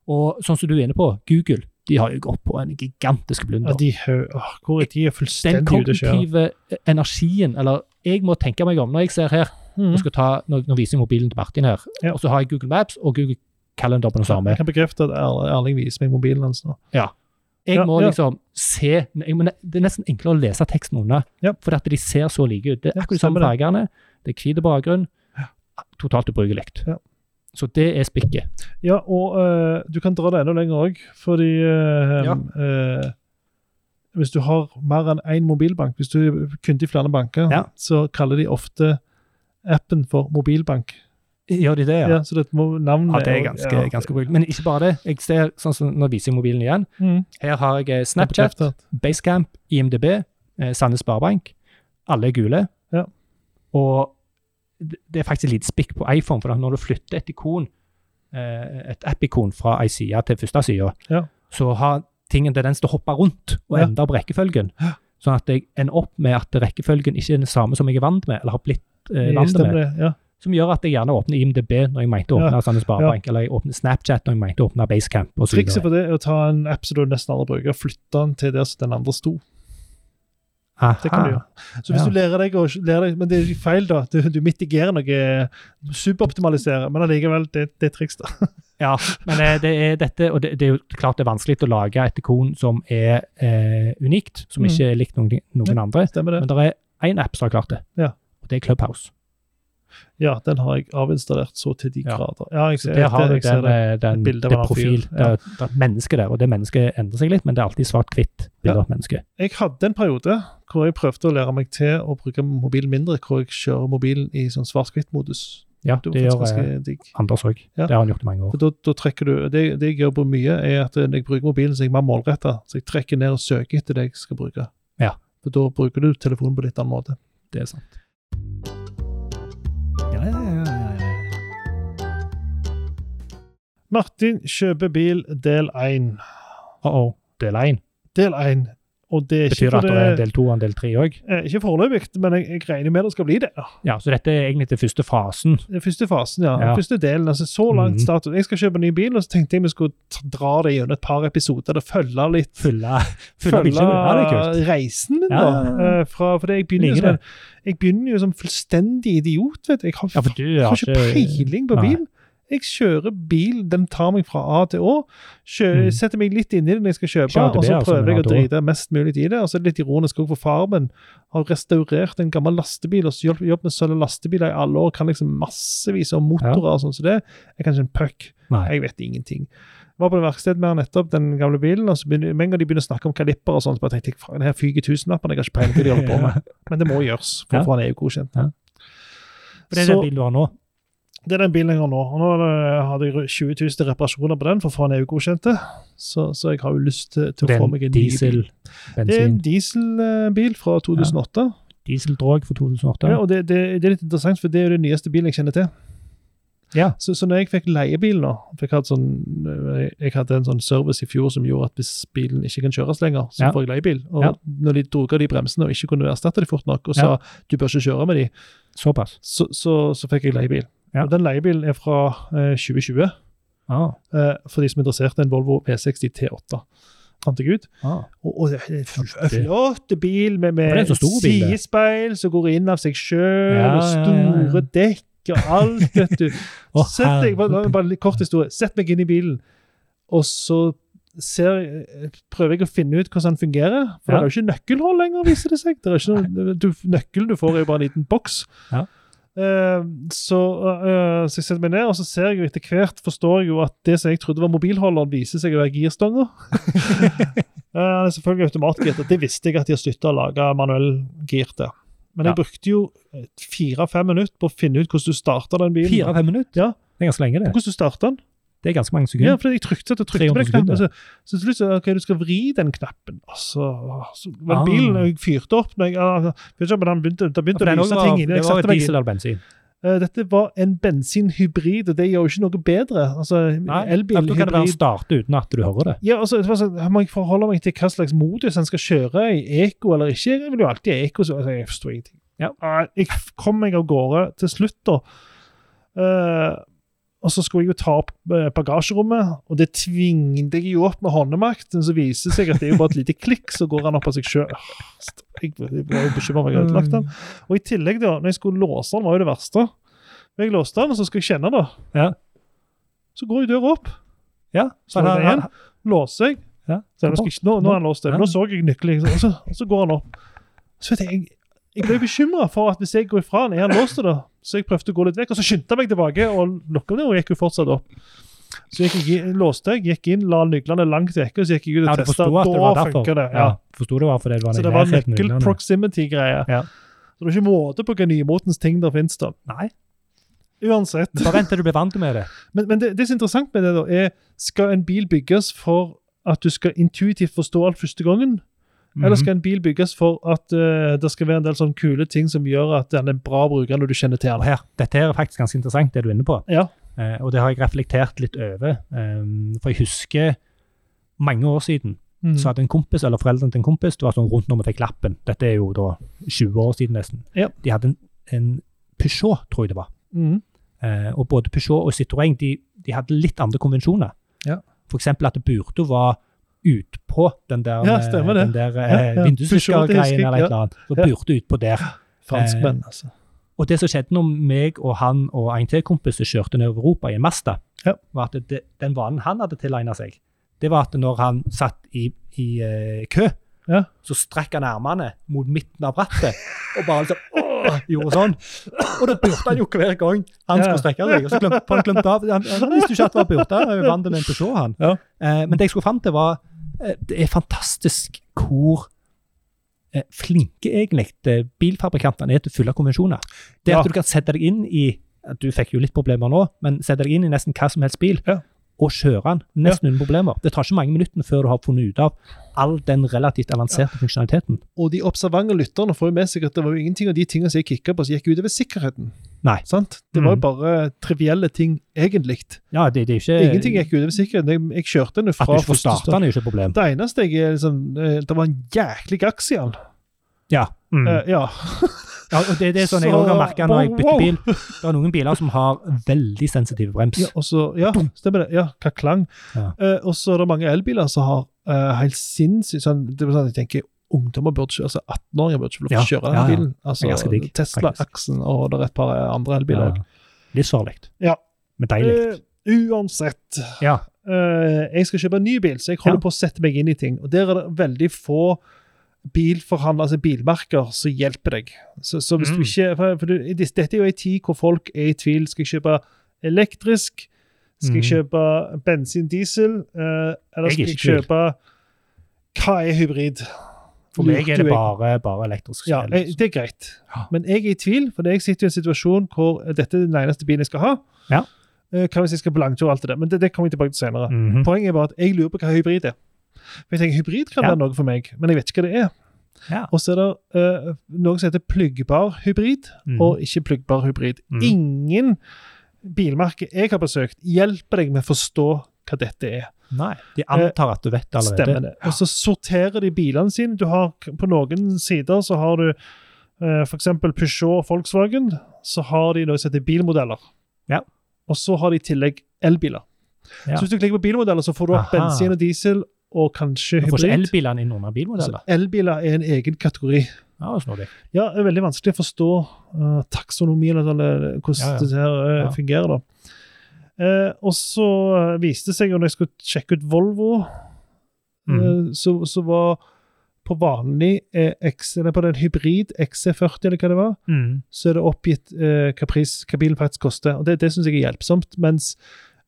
Og sånn som du er inne på, Google de har jo gått på en gigantisk Ja, blunder. de, hø- åh, hvor er de er Den fullstendig ute å kjøre. kognitive eh, energien, eller jeg må tenke meg om når jeg ser her Mm. Nå, skal jeg ta, nå, nå viser jeg mobilen til Martin her, Ja. og så har jeg Google Maps og Google Calendar på den samme. Jeg kan bekrefte at Erl- Erling viser meg mobilen hans nå. Jeg Ja, må ja. liksom se jeg må, ne- Det er nesten enklere å lese teksten unna, Ja. fordi at de ser så like ut. Det er Ja, akkurat de samme stemmer fargene, det er hvit bakgrunn. Ja. Totalt ubrukelig. Ja. Så det er spikket. Ja, og eh, du kan dra det enda lenger òg, fordi eh, Ja. eh, Hvis du har mer enn én mobilbank, hvis du er kunde i flere banker, Ja. så kaller de ofte appen for mobilbank. Gjør de det, Ja, så det må navnet Ja, det er og- ganske, ja. ganske ubrukelig. Men ikke bare det. Jeg ser, sånn som Nå viser jeg mobilen igjen. Mm, Her har jeg eh, det er Snapchat, bekreftet. Basecamp, IMDb, eh, Sandnes Sparebank. Alle er gule. Ja. Og det det er faktisk et lite spikk på iPhone, for når du flytter et ikon, eh, et app-ikon fra ei side til første side, Ja. så har ting en tendens til å hoppe rundt og Ja. endre på rekkefølgen. Ja. Sånn at jeg ender opp med at rekkefølgen ikke er den samme som jeg er vant med, eller har blitt eh, Ja, vant stemmer med. det. Ja. Som gjør at jeg gjerne åpner IMDb når jeg mente å åpne Ja. Sandnes Sparebank, eller jeg åpner Snapchat når jeg mente å åpne Basecamp. Og så Trikset videre. for det er å ta en app som du nesten aldri bruker, og flytte den til der som den andre sto. Det kan du Aha. gjøre. Så hvis Ah. Ja. du lærer deg å lærer deg, Men det er feil, da. Du, du mitigerer noe, du superoptimaliserer, men allikevel, det, det er triks, da. Ja, men eh, det er dette, og det, det er jo klart det er vanskelig å lage et ikon som er eh, unikt, som Mm. ikke er likt noen, noen andre. Stemmer det? Men det er én app som har klart det, Ja. og det er Clubhouse. Ja, den har jeg avinstallert så til de Ja. grader. Ja, jeg Så ser, der har det, du jeg ser den, det. eh, den, Et bilde av det en profil. fyr, Det er det er et menneske der, og det mennesket endrer seg litt, men det er alltid svart-hvitt Ja. bilde av et menneske. Jeg hadde en periode hvor jeg prøvde å lære meg til å bruke mobilen mindre, hvor jeg kjører mobilen i sånn svart-hvitt-modus. Ja, Det det, var faktisk gjør eh, ganske digg. Anders òg. Ja. Det har han gjort i mange år. For da, da trekker du, det, det jeg gjør på mye, er at eh, når jeg bruker mobilen, så er jeg mer målretta. Så jeg trekker ned og søker etter det jeg skal bruke. Ja. For da bruker du telefonen på litt annen måte. Det er sant. Martin kjøper bil del 1. Uh-oh. Del 1. Del 1. Og det er ikke, Betyr det for at det er en det, del 2 og en del 3 òg? eh, ikke foreløpig, men jeg, jeg regner med det skal bli det. Ja, så dette er egentlig den første fasen. Den første fasen, ja. Ja. Den første delen. altså Så Mhm. langt status. Jeg skal kjøpe en ny bil, og så tenkte jeg vi skulle t- dra det gjennom et par episoder og følge litt Fylle, fylle bildet. Ja, det er kult. reisen min, Ja, da. ja, ja. eh, Fra, for det- jeg begynner, jo Liker som, en- jeg begynner jo som fullstendig idiot, vet du. Jeg har, Ja, for du jeg har har ikke peiling på Nei. bil. Jeg kjører bil, den tar meg fra A til Å. Kjø, Mhm. Setter meg litt inn i den jeg skal kjøpe, Ikke ADB, og så altså, prøver men jeg å A til Å. drite mest mulig i det. Og så er det litt ironisk òg, for far min har restaurert en gammel lastebil og så jobb- jobbet med sølv- og lastebiler i alle år, kan liksom massevis om motorer og sånn som det. Jeg kan ikke en puck. Nei. Jeg vet ingenting. Var på det verkstedet med han nettopp, den gamle bilen, og så begynner, med en gang de begynner å snakke om kalipper og sånn, så bare tenkte jeg faen, det her fyker tusenlappene, jeg har ikke peiling på hva de holder på med. Men det må gjøres, for Ja. å få han E EU-godkjent. Ja. For det er Så- den bilen du har nå. det er den bilen jeg har nå. Og nå eh, hadde jeg 20 000 til reparasjoner på den, for faen er jo godkjente. Så, så jeg har jo lyst til, til å få Den meg en ny bil. diesel, Det er en bensin, dieselbil fra 2008. dieseldrog for Ja. 2008. og det, det, det er litt interessant, for det er jo den nyeste bilen jeg kjenner til. Ja. Så, så når jeg fikk leiebil nå for jeg hadde, sånn, eh, jeg hadde en sånn service i fjor som gjorde at hvis bilen ikke kan kjøres lenger, så Ja. får jeg leiebil. Og Ja. når de drog av de bremsene og ikke kunne erstatte de fort nok, og sa Ja. du bør ikke kjøre med de, Såpass. så, så, så fikk jeg leiebil. Ja. Og den leiebilen er fra eh, 2020. Ah, Eh, for de som er interessert, en Volvo V60 T8. Fant jeg ut. ah. Og, og det er en fl- flott bil med, Ja, det er med en så stor bil, det. sidespeil som går inn av seg sjøl, Ja, og ja, store ja, ja. dekk og alt, vet du. Å, Sett deg, bare, herregud. bare litt kort historie. Sett meg inn i bilen, og så ser, jeg- prøver jeg å finne ut hvordan den fungerer. For Ja. det er jo ikke nøkkelhold lenger, viser det seg. Det er ikke noe, du, nøkkelen du får, er jo bare en liten boks. Ja. Eh, så, eh, så jeg setter meg ned, og så ser jeg jo etter hvert forstår jeg jo at det som jeg trodde var mobilholderen, viser seg å være girstanga. Eh, Den er selvfølgelig automatgirt. og Det visste jeg at de har sluttet å lage manuell gir til. Men jeg Ja. brukte jo eh, fire-fem minutter på å finne ut hvordan du starter den bilen. Fire-fem minutter? Ja. Det er ganske lenge, det. Hvordan du starter den? Det er ganske mange Ja, sekunder. for jeg trykte, satt og trykte på den 300 knappen. Så, så til slutt så OK, du skal vri den knappen. Og så, så var Ah. bilen jeg fyrte opp når jeg, ah, vet ikke, men han begynte, Det For begynte den å også lyse var, ting inni. det Jeg var satte meg inn. diesel eller bensin. Eh, Dette var en bensinhybrid, og det gjør jo ikke noe bedre. Altså, elbil, ja, for Da kan det være hybrid starte uten at du hører det. Ja, altså, det var sånn, her Må jeg forholde meg til hva slags modus en skal kjøre i? Eko eller ikke? Jeg vil jo alltid ha eko. Så, altså, jeg forstår ingenting. Ja. Nei, Jeg f- kom meg av gårde til slutt, da. Eh, og så skulle jeg jo ta opp eh, bagasjerommet, og det tvingte jeg jo opp med håndemakt. Men så viser det seg at det er jo bare et lite klikk, så går han opp av seg sjøl. Jeg var jo bekymra for at jeg hadde ødelagt den. Og i tillegg, da, når jeg skulle låse den, var jo det verste. Når jeg låste den, og så skal jeg kjenne, da, Ja. så går jo døra opp. Ja, Så er det igjen. låser jeg. Ja, Så jeg, nå, skal jeg ikke, nå, nå er han låst, men Ja. nå så jeg nøkkelen, og, så- og så går han opp. Så vet jeg, jeg, jeg ble bekymra for at hvis jeg går ifra han, er han låst da? Så jeg prøvde å gå litt vekk, og så skyndte jeg meg tilbake, og lukka det, og gikk jo fortsatt opp. Så gikk jeg, i- låste jeg, gikk inn, la nøklene langt vekk, og så gikk jeg ut Ja, og du testa. forsto at det var Da derfor. funka det. Ja, Ja. forsto det var fordi det var Så i det var nærheten av nøkkel vinduene. proximity-greie. Ja. Så det er ikke måte på hva nymotens ting der finnes, da. Nei, Uansett. bare vent til du blir vant med det. Men, men det, det som er interessant med det, da, er skal en bil bygges for at du skal intuitivt forstå alt første gangen? Eller Mhm. skal en bil bygges for at eh, det skal være en del sånne kule ting som gjør at den er bra bruker når du kjenner til Og den? her, Dette her er faktisk ganske interessant, det du er inne på. Ja. Eh, og det har jeg reflektert litt over. eh, for jeg husker mange år siden Mm. så hadde en kompis, eller foreldrene til en kompis, det var sånn rundt når vi fikk lappen. Dette er jo da 20 år siden nesten. Ja. De hadde en, en Peugeot, tror jeg det var. Mm. Eh, og både Peugeot og Citroën de, de hadde litt andre konvensjoner. Ja. For eksempel at Burto var utpå den der, Ja, stemmer det. den der eh, Ja, ja. Peugeot, det husker vindusviskergreien jeg, eller et ja. eller annet. Så Ja. Burto utpå der. Franskmenn, Eh. altså. Og det som skjedde når meg og han og en til kompis som kjørte ned over Europa i en Mazda, Ja. var at det, den vanen han hadde tilegnet seg, det var at når han satt i, i eh, kø, Ja. så strekk han armene mot midten av rattet og bare liksom åh, gjorde sånn. Og da burte han jo hver gang han Ja. skulle strekke seg. og så glemte han glemte av. Han, han visste jo ikke at det var burte. Han var jo vant til en Peugeot, han. Ja. Eh, men det jeg skulle fram til, var eh, det er fantastisk hvor eh, flinke egentlig eh, bilfabrikantene er til å fylle konvensjoner. Det Ja. at du kan sette deg inn i at Du fikk jo litt problemer nå, men sette deg inn i nesten hva som helst bil Ja. og kjøre den nesten uten problemer. Det tar ikke mange minuttene før du har funnet ut av all den relativt avanserte funksjonaliteten. Og de observante lytterne får jo med seg at det var jo ingenting av de tingene som jeg kicka på, som gikk utover sikkerheten. Nei. Sant? Det var Mm. jo bare trivielle ting, egentlig. Ja, det, det er ikke Ingenting gikk utover sikkerheten. Jeg, jeg kjørte den jo Eh, fra At du ikke får første starte stund. den, er jo ikke et problem. Det eneste jeg er liksom eh, Det var en jæklig aks i den. Ja. Mm. Eh, ja. ja og det, det er sånn jeg så- òg har merka når jeg wow. bytter bil. Det er noen biler som har veldig sensitive brems. Ja, og så, ja stemmer det. Ja, hva klang. Ja. Eh, og så er det mange elbiler som har eh, helt sinnssykt sånn, det er sånn, Jeg tenker ungdommer burde ikke, altså 18-åringer burde ikke få lov til å Ja, kjøre denne ja, ja. bilen. Det er ganske Altså, digg, Tesla-aksen og det er et par andre elbiler òg. Livsfarlig. Ja. Eh, Men deilig. uansett. Ja. Eh, jeg skal kjøpe en ny bil, så jeg holder Ja. på å sette meg inn i ting. Og der er det veldig få bilforhandlere, altså bilmerker, som hjelper deg. Så, så hvis Mm. du ikke For, for du, i dis- dette er jo ei tid hvor folk er i tvil. Skal jeg kjøpe elektrisk? Skal jeg Mhm. kjøpe bensin, diesel, eh, eller Jeg er skal jeg ikke i tvil. kjøpe Hva er hybrid? For meg Lurte er det jeg. bare, bare elektrisk. Ja, el, jeg, liksom. det er greit. Ja. Men jeg er i tvil, for jeg sitter i en situasjon hvor dette er den eneste bilen jeg skal ha. Ja. Eh, Hva hvis jeg skal på langtur og alt det der? Men det, det kommer jeg tilbake til senere. Mhm. Poenget er bare at jeg lurer på hva hybrid er. For jeg tenker, Hybrid kan Ja. være noe for meg, men jeg vet ikke hva det er. Ja. Og så er det eh, noe som heter pluggbar hybrid, Mhm. og ikke pluggbar hybrid. Mhm. Ingen bilmerke jeg har besøkt, hjelper deg med å forstå hva dette er. Nei, de antar at du vet det allerede. Stemmer det. Og så sorterer de bilene sine. Du har, på noen sider så har du eh, for eksempel Peugeot og Volkswagen. Så har de noe som heter bilmodeller. Ja. Og så har de i tillegg elbiler. Ja. Så hvis du klikker på bilmodeller, så får du opp Aha. bensin og diesel, og kanskje Du får ikke hybrid. elbilene inn under Altså, bilmodeller. elbiler er en egen kategori. Ja, det er snodig. Ja, det er veldig vanskelig å forstå eh, taksonomien, eller, eller hvordan Ja, ja. det her eh, Ja. fungerer. da. Eh, og så eh, viste det seg, jo når jeg skulle sjekke ut Volvo, Mhm. eh, så, så var på vanlig eh, X, eller på den hybrid XC40, eller hva det var, Mhm. så er det oppgitt eh, hva, pris, hva bilen faktisk koster. og Det, det syns jeg er hjelpsomt. Mens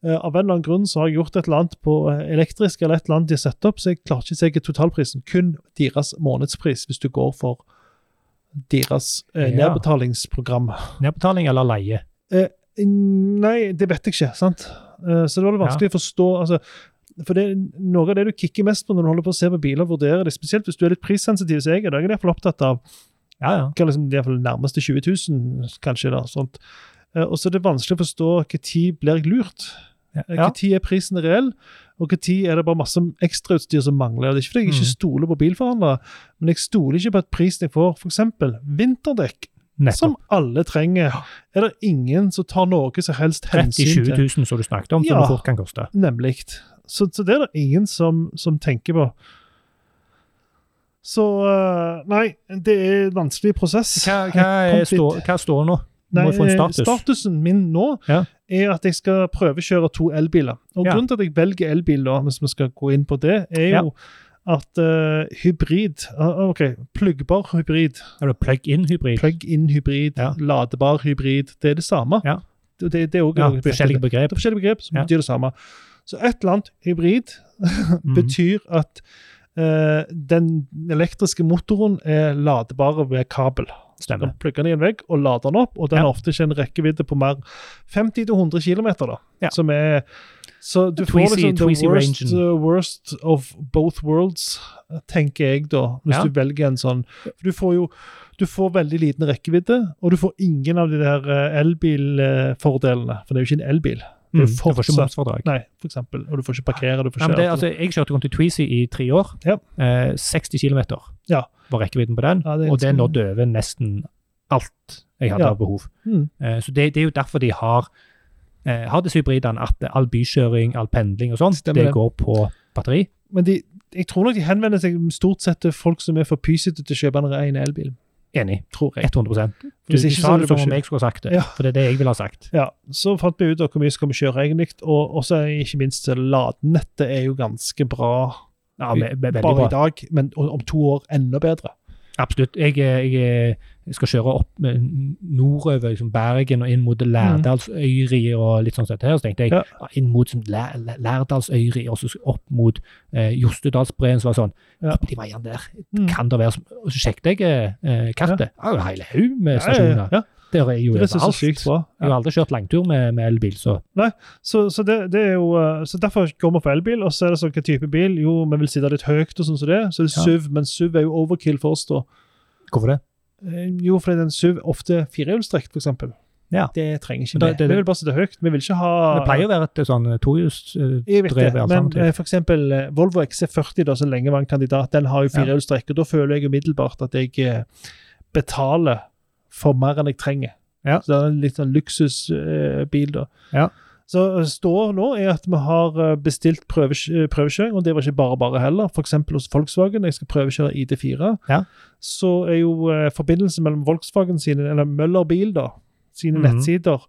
eh, av en eller annen grunn så har jeg gjort et eller annet på eh, elektrisk, eller et eller annet de har satt opp, så jeg klarer ikke å se totalprisen. Kun deres månedspris, hvis du går for deres eh, Ja. nedbetalingsprogram. Nedbetaling eller leie? Nei, det vet jeg ikke, sant? Eh, så det var litt vanskelig å forstå. altså, for det, Noe av det du kikker mest på når du holder på å se på biler og vurderer det, spesielt hvis du er litt prissensitiv, som jeg er, da er jeg i hvert fall opptatt av Ja, ja. hva liksom, i hvert fall nærmeste 20 000, kanskje. Da, sånt. Eh, og så er det vanskelig å forstå når blir jeg lurt. Eh, Ja. Når er prisen reell, og når er det bare masse ekstrautstyr som mangler. Og det er ikke fordi jeg ikke Mm. stoler på bilforhandlere, men jeg stoler ikke på at prisen jeg får, f.eks. vinterdekk, Nettopp. som alle trenger, er det ingen som tar noe som helst 30 hensyn 000-20 til. 000 som du snakket om, som Ja. det fort kan koste. Nemlig. Så, så det er det ingen som, som tenker på. Så eh, Nei, det er en vanskelig prosess. Hva, hva, Jeg kom er stå, hva står nå? Du må Nei, jo få en status. Statusen min nå Ja. er at jeg skal prøvekjøre to elbiler. Og Ja. Grunnen til at jeg velger elbil, da, hvis vi skal gå inn på det, er Ja. jo at eh, hybrid ah, OK, pluggbar hybrid, Eller plug-in hybrid. plug-in hybrid, Ja. ladebar hybrid, det er det samme. Ja. Det, det, det er også ja, noe- forskjellige det begrep. er forskjellige begrep som Ja. betyr det samme. Så et eller annet hybrid Mhm. betyr at eh, den elektriske motoren er ladebar ved kabel. Du Mm, Stemmer. kan plugge den i en vegg og lade den opp, og den Ja. har ofte ikke en rekkevidde på mer 50-100 km. Da, Ja. som er, så du får Tweezy- liksom tweezy the worst, rangen. uh, worst of both worlds, tenker jeg da, hvis Ja. du velger en sånn. For du får jo du får veldig liten rekkevidde, og du får ingen av de der eh, elbilfordelene. For det er jo ikke en elbil. Mm. Du fortsatt- får ikke momsfordrag. Nei, for eksempel. Og du får ikke parkere. du får Ja, ikke... men det, altså, jeg kjørte rundt i Tweezy i tre år. Ja. Eh, 60 km Ja. var rekkevidden på den, Ja, det er og det ganske- nådde over nesten alt jeg hadde Ja. av behov. Mm. Eh, så det, det er jo derfor de har, eh, har disse hybridene, at all bykjøring, all pendling og sånt, Stemmer det det. går på batteri. Men de, jeg tror nok de henvender seg stort sett til folk som er for pysete til å kjøpe en ren elbil. Enig. Tror jeg. 100 Du, du Hvis ikke, så sa er det det som om bare- jeg skulle ha sagt det, Ja. for det er det jeg ville ha sagt. Ja, Så fant vi ut av hvor mye skal vi kjøre egentlig, og også ikke minst ladenettet er jo ganske bra Ja, ve- ve- veldig bare i bra. dag, men o- om to år enda bedre. Absolutt. Jeg, eh, jeg eh, skal kjøre opp eh, nordover liksom Bergen og inn mot Lærdalsøyri og litt sånn sett her. Så tenkte jeg Mm. Ja. ja, inn mot sånn Læ- Læ- Lærdalsøyri og så opp mot eh, Jostedalsbreen. Så var det sånn Ja. Opp de veiene der, Mm. kan det være som Og så sjekket jeg eh, eh, kartet. Ja. det er en hele haug med Ja, ja, stasjoner. ja. Der er jo Det er så, så sykt overalt. bra. Jeg har aldri kjørt langtur med, med elbil, så Så, så, det, det er jo, eh, så derfor går vi for elbil, og så er det sånn hva type bil? Jo, vi vil sitte litt høyt og sånn som det, så det er Ja. SUV, men SUV er jo overkill for oss da. hvorfor det? Eh, Jo, fordi den SUV ofte firehjulstrekk, for eksempel. Ja. Det trenger ikke Men da- vi. det- det- Vi vil bare sitte høyt. Vi vil ikke ha Det pleier å være et sånn eh, tohjus... eh, Jeg vet det, drevet men alternativ. eh, for eksempel eh, Volvo XC40, da, som lenge var en kandidat, den har jo Ja. firehjulstrekk. og Da føler jeg umiddelbart at jeg eh, betaler for mer enn jeg trenger. Ja. Så det er en litt sånn luksusbil, da. Ja. Så eh, står nå er at vi har eh, bestilt prøvekj- eh, prøvekjøring, og det var ikke bare bare heller. For eksempel hos Volkswagen, jeg skal prøvekjøre ID4. Ja. Så er jo eh, forbindelsen mellom Volkswagen sine, eller Møller Bil, da, sine Mhm. nettsider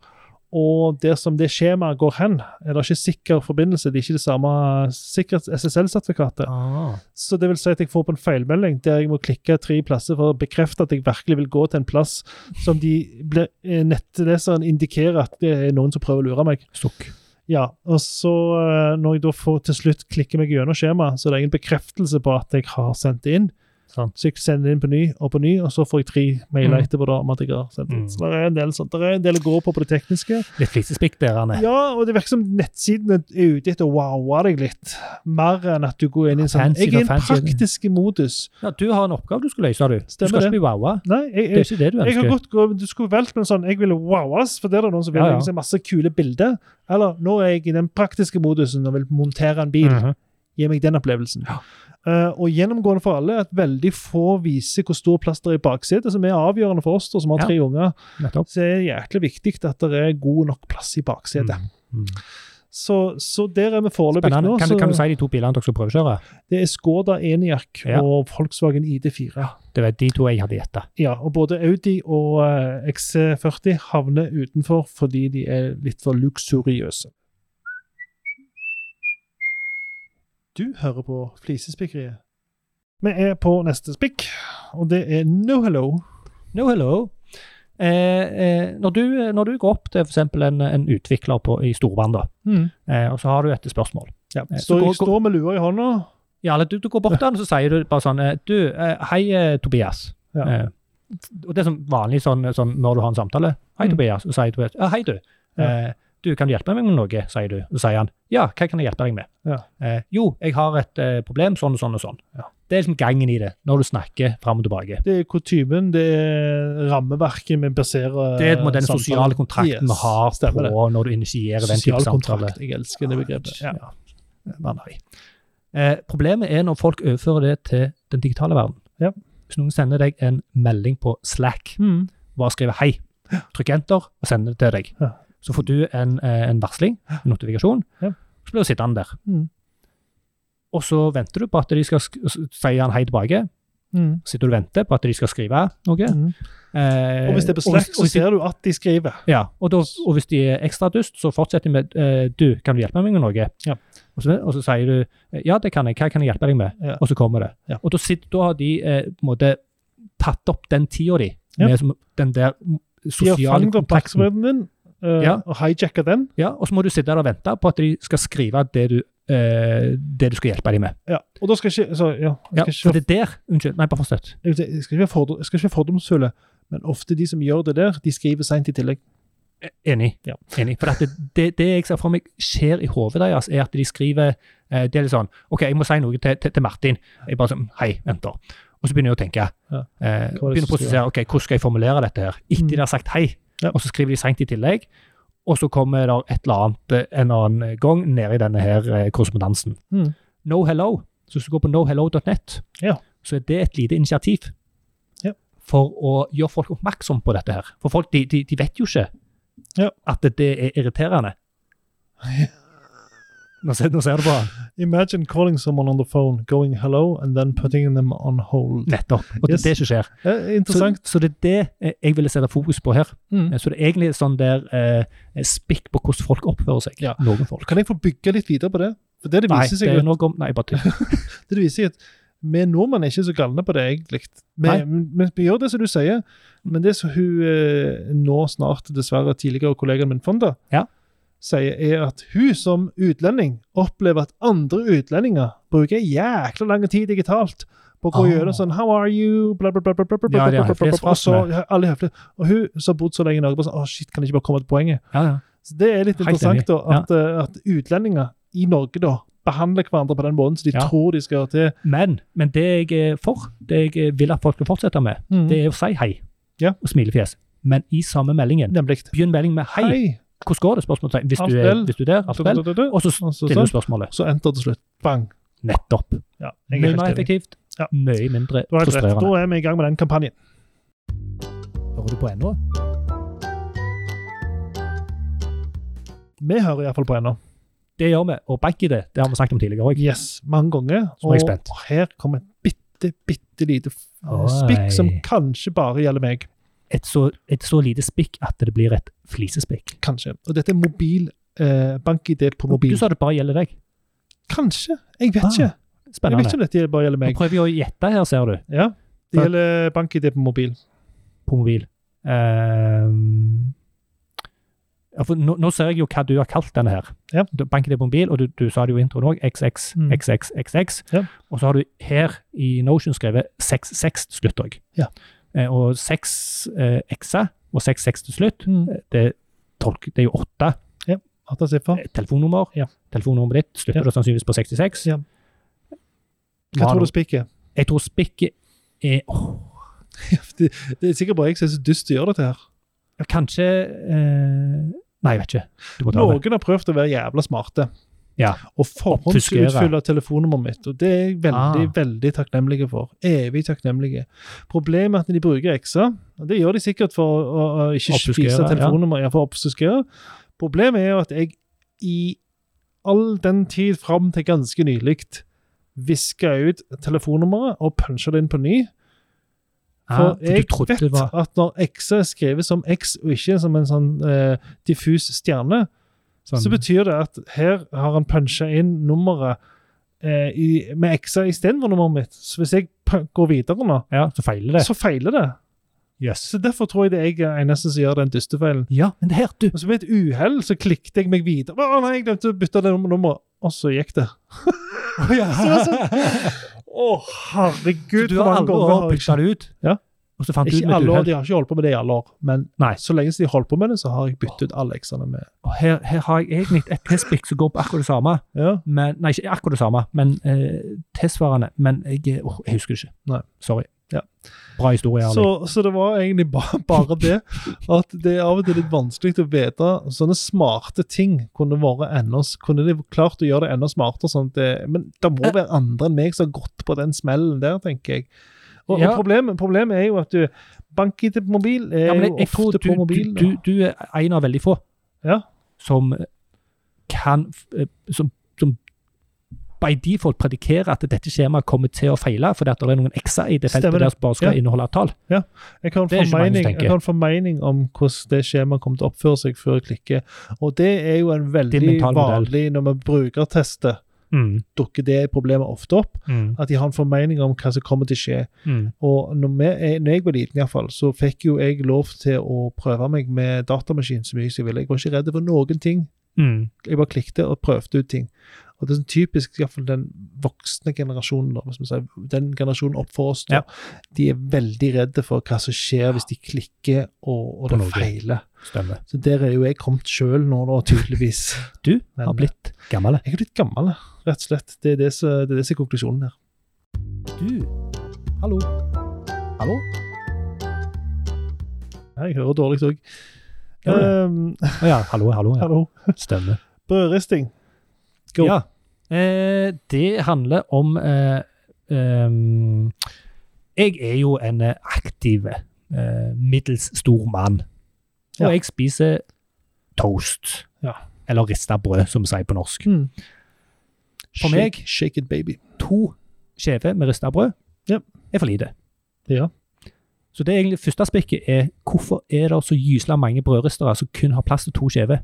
og der som det skjemaet går hen, er det ikke sikker forbindelse. Det er ikke det samme sikkerhets-SSL-sertifikatet. Ah. Så det vil si at jeg får på en feilmelding der jeg må klikke tre plasser for å bekrefte at jeg virkelig vil gå til en plass som de blir, eh, nettleseren indikerer at det er noen som prøver å lure meg. Sukk. Ja, og så eh, Når jeg da får til slutt klikker meg gjennom skjemaet, så er det en bekreftelse på at jeg har sendt det inn. Sant. Så jeg sender det inn på ny og på ny, og så får jeg tre mailer Mm. etterpå da om at jeg har sendt det inn. Mm. Så det er en del sånt. Det er en del å gå på på det tekniske. Litt flisespikk der, Anne. Ja, og det virker som nettsidene er ute etter å wowe deg litt, mer enn at du går inn i en sånn Fancy Jeg er i en og fancy. praktisk modus. Ja, du har en oppgave du skal løse, du. Du Stemmer skal det. ikke bli wowa. Nei, jeg, Det er jeg, ikke det du jeg har ønsker. godt gå, Du skulle valgt med en sånn 'jeg ville wowes', for det er det noen som vil. Ja, ja. Jeg vil se masse kule bilder. Eller 'nå er jeg i den praktiske modusen og vil montere en bil'. Mhm. Gi meg den opplevelsen. Ja. Eh, og gjennomgående for alle er at veldig få viser hvor stor plass det er i baksetet, som er avgjørende for oss da, som har Ja. tre unger. Nettopp. Så er det jæklig viktig at det er god nok plass i baksetet. Mm. Så, så der er vi foreløpig Spennende. nå. Kan, så kan du si de to bilene dere skal prøvekjøre? Det er Skoda Eniac Ja. og Volkswagen ID4. Det var de to jeg hadde gjetta. Ja, og både Audi og eh, XC40 havner utenfor fordi de er litt for luksuriøse. Du hører på Flisespikkeriet. Vi er på neste spikk, og det er No Hello. No hello. Eh, eh, når, du, når du går opp til f.eks. En, en utvikler på, i Storband, da, eh, og så har du et spørsmål Ja, Eh, så står, går- jeg står med lua i hånda. ja, eller du, du går bort til han, og så sier du bare sånn eh, Du, eh, hei, eh, Tobias. Ja. Eh, og det er sånn vanlig sånn, sånn når du har en samtale. Hei, Mm. Tobias. Og sier Tobias ja, hei, du. Ja. Eh, du, kan du hjelpe meg med noe? sier du. Og så sier han ja, hva kan jeg hjelpe deg med? Ja. Eh, jo, jeg har et eh, problem, sånn og sånn og sånn. Ja. Eh, Det er liksom gangen i det, når du snakker fram og tilbake. Det er kutymen, det er rammeverket vi baserer Det er på en måte den samtalen. sosiale kontrakten vi Yes, har stemmer det. på når du initierer den type Sosial samtale. kontrakt. Jeg elsker det begrepet. Ja, Ja. hva nei. Eh, problemet er når folk overfører det til den digitale verden. Ja. Hvis noen sender deg en melding på Slack, Mm. bare skriver 'hei', trykk 'enter' og sender det til deg. Ja. Så får du en, eh, en varsling, en notifikasjon, Ja. så blir du sittende der. Mm. Og så venter du på at de skal sk s- si han hei tilbake. Mm. Sitter du og venter på at de skal skrive noe. Mm. Eh, Og hvis det er på Slack, så og hvis de- ser du at de skriver. Ja, og, da, og hvis de er ekstra dust, så fortsetter de med eh, du, kan du hjelpe meg med noe? Ja. Og, så, og så sier du eh, ja, det kan jeg, hva kan jeg hjelpe deg med? Ja. Og så kommer det. Ja. Og da, sitter, da har de eh, på en måte tatt opp den tida di Ja. med som, den der De har sosiale fanget kontakten. oppmerksomheten din eh, Ja. og hijacka den. Ja, og så må du sitte der og vente på at de skal skrive det du, eh, det du skal hjelpe dem med. Ja. Og da skal ikke så, ja, Ja, jeg, skal for ikke, det der Unnskyld, nei, bare fortsett. jeg vet ikke- jeg skal ikke være fordom- jeg skal ikke være fordomsfulle, men ofte de som gjør det der, de skriver seint i tillegg. E-, Enig. Ja. Enig. For at det, det, det jeg ser for meg skjer i hodet deres, er at de skriver eh, Det er litt sånn OK, jeg må si noe til, til, til Martin. Jeg bare sånn Hei, venter. Og så begynner jeg å tenke. Ja. Eh, Hva var det begynner å som prosessere. OK, hvordan skal jeg formulere dette her? Etter Mm. de har sagt hei, Ja. og så skriver de seint i tillegg. Og så kommer det et eller annet eh, en eller annen gang nede i denne her eh, korrespondansen. Mm. No hello. Så hvis du går på nohello.net, Ja. så er det et lite initiativ Ja. for å gjøre folk oppmerksom på dette her. For folk de, de, de vet jo ikke Ja. at det er irriterende. Nå ser, nå ser du på han. Imagine calling someone on the phone, going hello, and then putting them on hold. Nettopp. Og det Yes. er det som skjer. Eh, Så, interessant. så det er det eh, jeg ville sette fokus på her. Mm. Så det er egentlig sånn der eh, spikk på hvordan folk oppfører seg. Ja. Noen folk. Kan jeg få bygge litt videre på det? For det det Nei, viser det seg er jo, noe om Nei, bare tull. det det viser jo at vi nordmenn er ikke så galne på det, egentlig. Vi, Nei. Mm. vi, vi gjør det som du sier, men det som hun eh, nå snart, dessverre tidligere kollegaen min, Fonda, Ja. sier, er at hun som utlending opplever at andre utlendinger bruker jækla lang tid digitalt på å gå Ah. gjennom sånn How are you? Bla, bla, bla, bla, bla, bla, Ja, bla, de bla, har bla, bla, bla, og så høflighetsfrasene. ja, alle er høflige. Og hun som har bodd så lenge i Norge, bare sånn Å, shit, kan jeg ikke bare komme til poenget? Ja, ja. Så Det er litt Helt interessant, enig, da, at, eh, at utlendinger i Norge da behandler hverandre på den måten som de Ja. tror de skal til. Men, men det jeg er for, det jeg vil at folk skal fortsette med, det er å si hei Mm. Ja. og smilefjes. Men i samme meldingen. Nemlig. Begynn melding med hei. Hvordan går det? spørsmålstegn. Hvis, Alt du er- vel. hvis du er der, alt vel. Og så Og så stiller du sånn. spørsmålet. Så enter til slutt. Bang. Nettopp. Ja, jeg Mye er mer helt enig. effektivt, Ja. mye mindre Du har helt rett. Da frustrerende. er vi i gang med den kampanjen. Hører du på ennå? Vi hører iallfall på ennå. Det gjør vi. Og bank i det. Det har vi snakket om tidligere òg. Yes, mange ganger. Så er jeg spent. her kommer et bitte, bitte lite f- Oi. spikk som kanskje bare gjelder meg. Et, så- et så lite spikk at det blir et flisespikk. Kanskje. Og dette er mobil. Eh, BankID på Du mobil. sa det bare gjelder deg. Kanskje. Jeg vet Ah, ikke. Jeg vet Spennende. ikke om dette bare gjelder Nå meg. prøver jeg å gjette her, ser du, Ja, Ja. Det gjelder eh, BankID på mobil. på mobil. Ehm, Ja, for nå, nå ser jeg jo hva du har kalt denne her. Ja. Du banker det på en bil, og du, du sa det jo i introen òg. XX, Mm. XX, XX. Ja. Og så har du her i Notion skrevet 66 til slutt òg. Ja. Eh, og 6 eh, X-er og 66 til slutt, Mm. eh, det, tolk, det er jo åtte Atta siffer. eh, telefonnummer. Ja. Telefonnummeret ditt slutter Ja. da sannsynligvis på 66. Ja. Hva tror du spikket? Jeg tror spikket er åh, Det, det er sikkert bare jeg som er så dust til å gjøre dette her. Kanskje eh, Nei, jeg vet ikke. Du må ta det. Noen har prøvd å være jævla smarte. Ja. Og forhåndsutfylle Obfuskere. telefonnummeret mitt. Og det er jeg veldig, Ah. veldig takknemlige for. Evig takknemlige. Problemet er at når de bruker X-er, og det gjør de sikkert for å, å, å ikke Obfuskere, spise ja. telefonnummer, ja, for å obfuskere. Problemet er jo at jeg i all den tid fram til ganske nylig viska ut telefonnummeret og punsja det inn på ny. Ah, For for jeg du trodde vet det var at når X er skrevet som X og ikke som en sånn eh, diffus stjerne, sånn så betyr det at her har han punchet inn nummeret eh, i, med X-er istedenfor nummeret mitt. Så hvis jeg pu- går videre nå, Ja, så feiler det. så feiler det. Yes. Så derfor tror jeg det er jeg er eneste som gjør den dustefeilen. Ja, men det her, du. Og så ved et uhell så klikket jeg meg videre. Å nei, jeg glemte å bytte det nummer- nummeret. Og så gikk det. Så det var sånn, Å, herregud, du hvor har mange alle ganger år har jeg bytta det ut, Ja. og så fant du ut Ikke med et alle år, uhell. de har ikke holdt på med det i alle år, men Nei. så lenge som de holdt på med det, så har jeg byttet ut alle X-ene med Og Her, her har jeg egentlig et testblikk som går på akkurat det samme. ja. Men, nei, ikke akkurat det samme, men eh, tilsvarende. Men jeg, åh, jeg husker det ikke. Nei. Sorry. Ja. Bra historie, Erling. så, så det var egentlig ba, bare det at det er av og til litt vanskelig å vite sånne smarte ting kunne vært enda s- Kunne de klart å gjøre det enda smartere? Sånn at det, men det må være andre enn meg som har gått på den smellen der, tenker jeg. Og, Ja. og problemet, problemet er jo at du Bank i til mobil er ja, men jeg, jo jeg tror ofte du, på mobilen. du, du, du er en av veldig få Ja. som eh, kan eh, som, som by default predikerer at dette skjemaet kommer til å feile, fordi at det er noen x-er i det feltet Stemmer det. der som bare skal Ja. inneholde et tall. Jeg har en Det er ikke mange som formening, tenker. jeg har en formening om hvordan det skjemaet kommer til å oppføre seg før jeg klikker. Og det er jo en Det er veldig en mental modell. vanlig når vi brukertester, dukker det problemet ofte opp. At de har en formening om hva som kommer til å skje. Og når, vi, er- når jeg var liten, i hvert fall, så fikk jo jeg lov til å prøve meg med datamaskin så mye som jeg ville. Jeg var ikke redd for noen ting. Jeg bare klikket og prøvde ut ting. Og det er sånn typisk i hvert fall den voksne generasjonen, da, hvis man sier, den generasjonen opp for oss, da, Ja. de er veldig redde for hva som skjer hvis de klikker og, og På det noe. feiler. Stemmer. Så der er jo jeg kommet sjøl nå, da, tydeligvis. Du Men- eh, har blitt gammel. Jeg er blitt gammel, rett og slett. Det er det som det er det som er konklusjonen her. Du, hallo. Hallo? Jeg hører dårlig òg. Gjør du det? Um, Å ja, hallo, hallo. Ja. hallo. Stemmer. Brødristing. Go. Ja. Eh, det handler om eh, ehm, Jeg er jo en eh, aktiv, eh, middels stor mann. Og Ja. jeg spiser toast. Ja. Eller rista brød, som vi sier på norsk. Mm. For Hmm. meg- Shake, shake it, baby. To skjever med rista brød Ja. er for lite. Ja. Så det er egentlig første spikket er hvorfor er det så gysla mange brødristere som kun har plass til to skjever?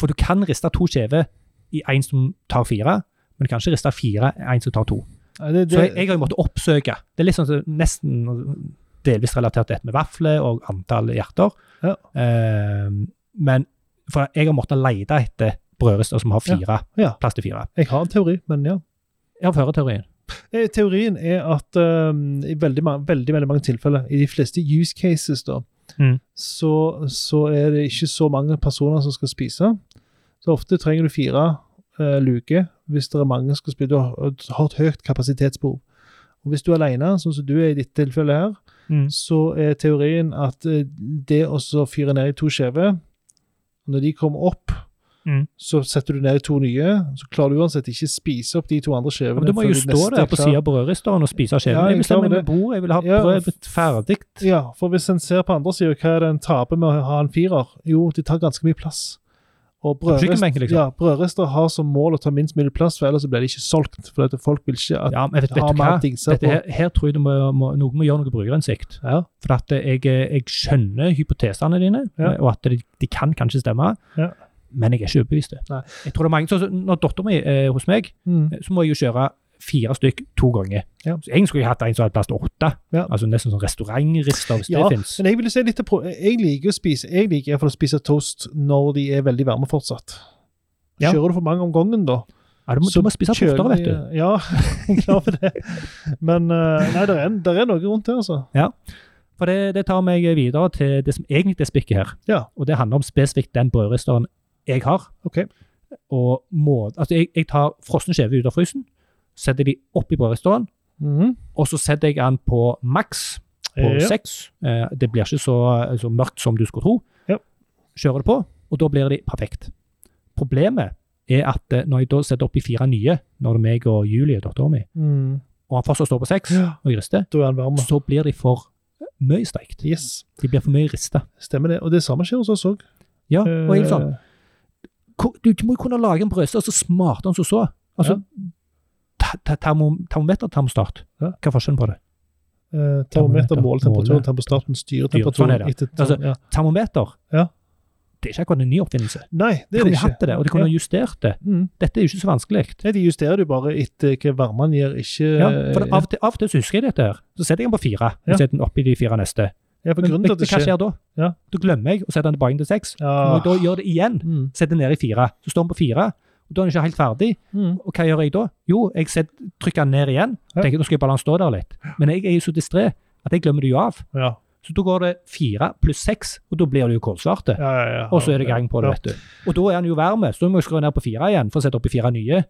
For du kan riste to skjever i en som tar fire, men du kan ikke riste fire i en som tar to. Nei, Det, Så jeg, jeg har jo måttet oppsøke. Det er litt sånn som nesten delvis relatert til dette med vafler og antall hjerter. Ja. Eh, men for jeg har måttet lete etter brødrister som har fire, Ja. plass til fire. jeg har en teori, men ja. Jeg har førerteorien. Eh, Teorien er at um, i veldig, ma- veldig, veldig mange tilfeller, i de fleste use cases, da, Mm. så, så er det ikke så mange personer som skal spise. Så ofte trenger du fire eh, luker hvis det er mange som skal spise. Du har, har et høyt kapasitetsbehov. Og hvis du er alene, sånn som du er i ditt tilfelle her, så er teorien at eh, det å så fyre ned i to skjever Når de kommer opp, Mm. så setter du ned i to nye. Så klarer du uansett ikke spise opp de to andre Ja, skjevene. men du må før jo de stå neste er der på klar. sida av brødristeren og spise av skjeven. Ja, jeg jeg bestemmer klarer meg bord, jeg vil ha Ja, brødet ferdig. Ja, for hvis en ser på andre sida, hva er det en taper med å ha en firer? Jo, de tar ganske mye plass. Og På brødrist- kjøkkenbenken, liksom. ja, brødrister har som mål å ta minst mulig plass, for ellers så blir de ikke solgt. For at folk vil ikke at Ja, men vet, ha vet du hva? mer dingser Dette på. her, her tror jeg du må, må, noen må gjøre noe brukerinnsikt. Ja. For at jeg, jeg skjønner hypotesene dine, Ja. og at de, de kan kanskje stemme, Ja. men jeg er ikke overbevist. Nei. Jeg tror det er mange, sånn som Når dattera mi er hos meg, Mm. så må jeg jo kjøre fire stykk to ganger. Ja. Så Egentlig skulle jeg hatt en som hadde plass til åtte. Ja. Altså nesten sånn restaurantrister, hvis Ja, det fins. Men jeg vil jo se litt av pro Jeg liker å spise Jeg liker i hvert fall å spise toast når de er veldig varme fortsatt. Ja. Kjører du for mange om gangen, da? Ja, du, må- så du må spise kjører oftere, vet de- du. Ja, jeg er klar for det. Men eh, nei, det er, en- der er noe rundt det, altså. For det, det tar meg videre til det som egentlig er spikket her. Ja. Og det handler om spesifikt den brødristeren jeg har. Ok. Og må, altså jeg, jeg tar frosne skjever ut av frysen, setter de opp i brødristeren, Mhm. og så setter jeg den på maks på Ja. seks. Eh, det blir ikke så, eh, så mørkt som du skulle tro. Ja. Kjører det på, og da blir de perfekt. Problemet er at eh, når jeg da setter oppi fire nye, når det er meg og Julie, dattera mi, Mhm. og han fortsatt står på seks Ja. og jeg rister, Da er den varm. så blir de for mye steikt. Yes, De blir for mye rista. stemmer det. Og det samme skjer hos oss òg. Ja, og jeg er Eh. sånn, "Ko- du, du må jo kunne lage en brødstav så smart som så så. Altså, ta- ta- termo- Termometer, termostart. Ja. Hva er forskjellen på det? Eh, Termometer Termometer, måler temperaturen, måler. termostaten styrer Styrer, temperaturen. sånn er det. etter, Altså, ja. Termometer Ja. det er ikke akkurat en ny oppfinnelse. Nei, De det er kunne det jo hatt ikke. Eh, det, og de kunne jo justert det. Mhm. Dette er jo ikke så vanskelig. Nei, De justerer det jo bare etter hva varmen gir, ikke eh, Ja, for det, av, og til, av og til så husker jeg dette her. Så setter jeg den på fire, og Ja. setter den oppi de fire neste. Ja, for Men, grunnen men til at det hva skjer skjer da? Ja. Da glemmer jeg å sette den tilbake til seks. ja. Når jeg da Mm. gjør det igjen, Mhm. setter den ned i fire. Så står den på fire, og da er den ikke helt ferdig. Mhm. Og hva gjør jeg da? Jo, jeg setter, trykker den ned igjen. Ja. Tenker nå skal jeg bare la den stå der litt. Men jeg er jo så distré at jeg glemmer det jo av. Ja. Så da går det fire pluss seks, og da blir det jo kålsvarte. Ja, ja, ja. Og så er det gang på det, Ja. vet du. Og da er den jo varm, så da må jeg skru ned på fire igjen for å sette oppi fire nye.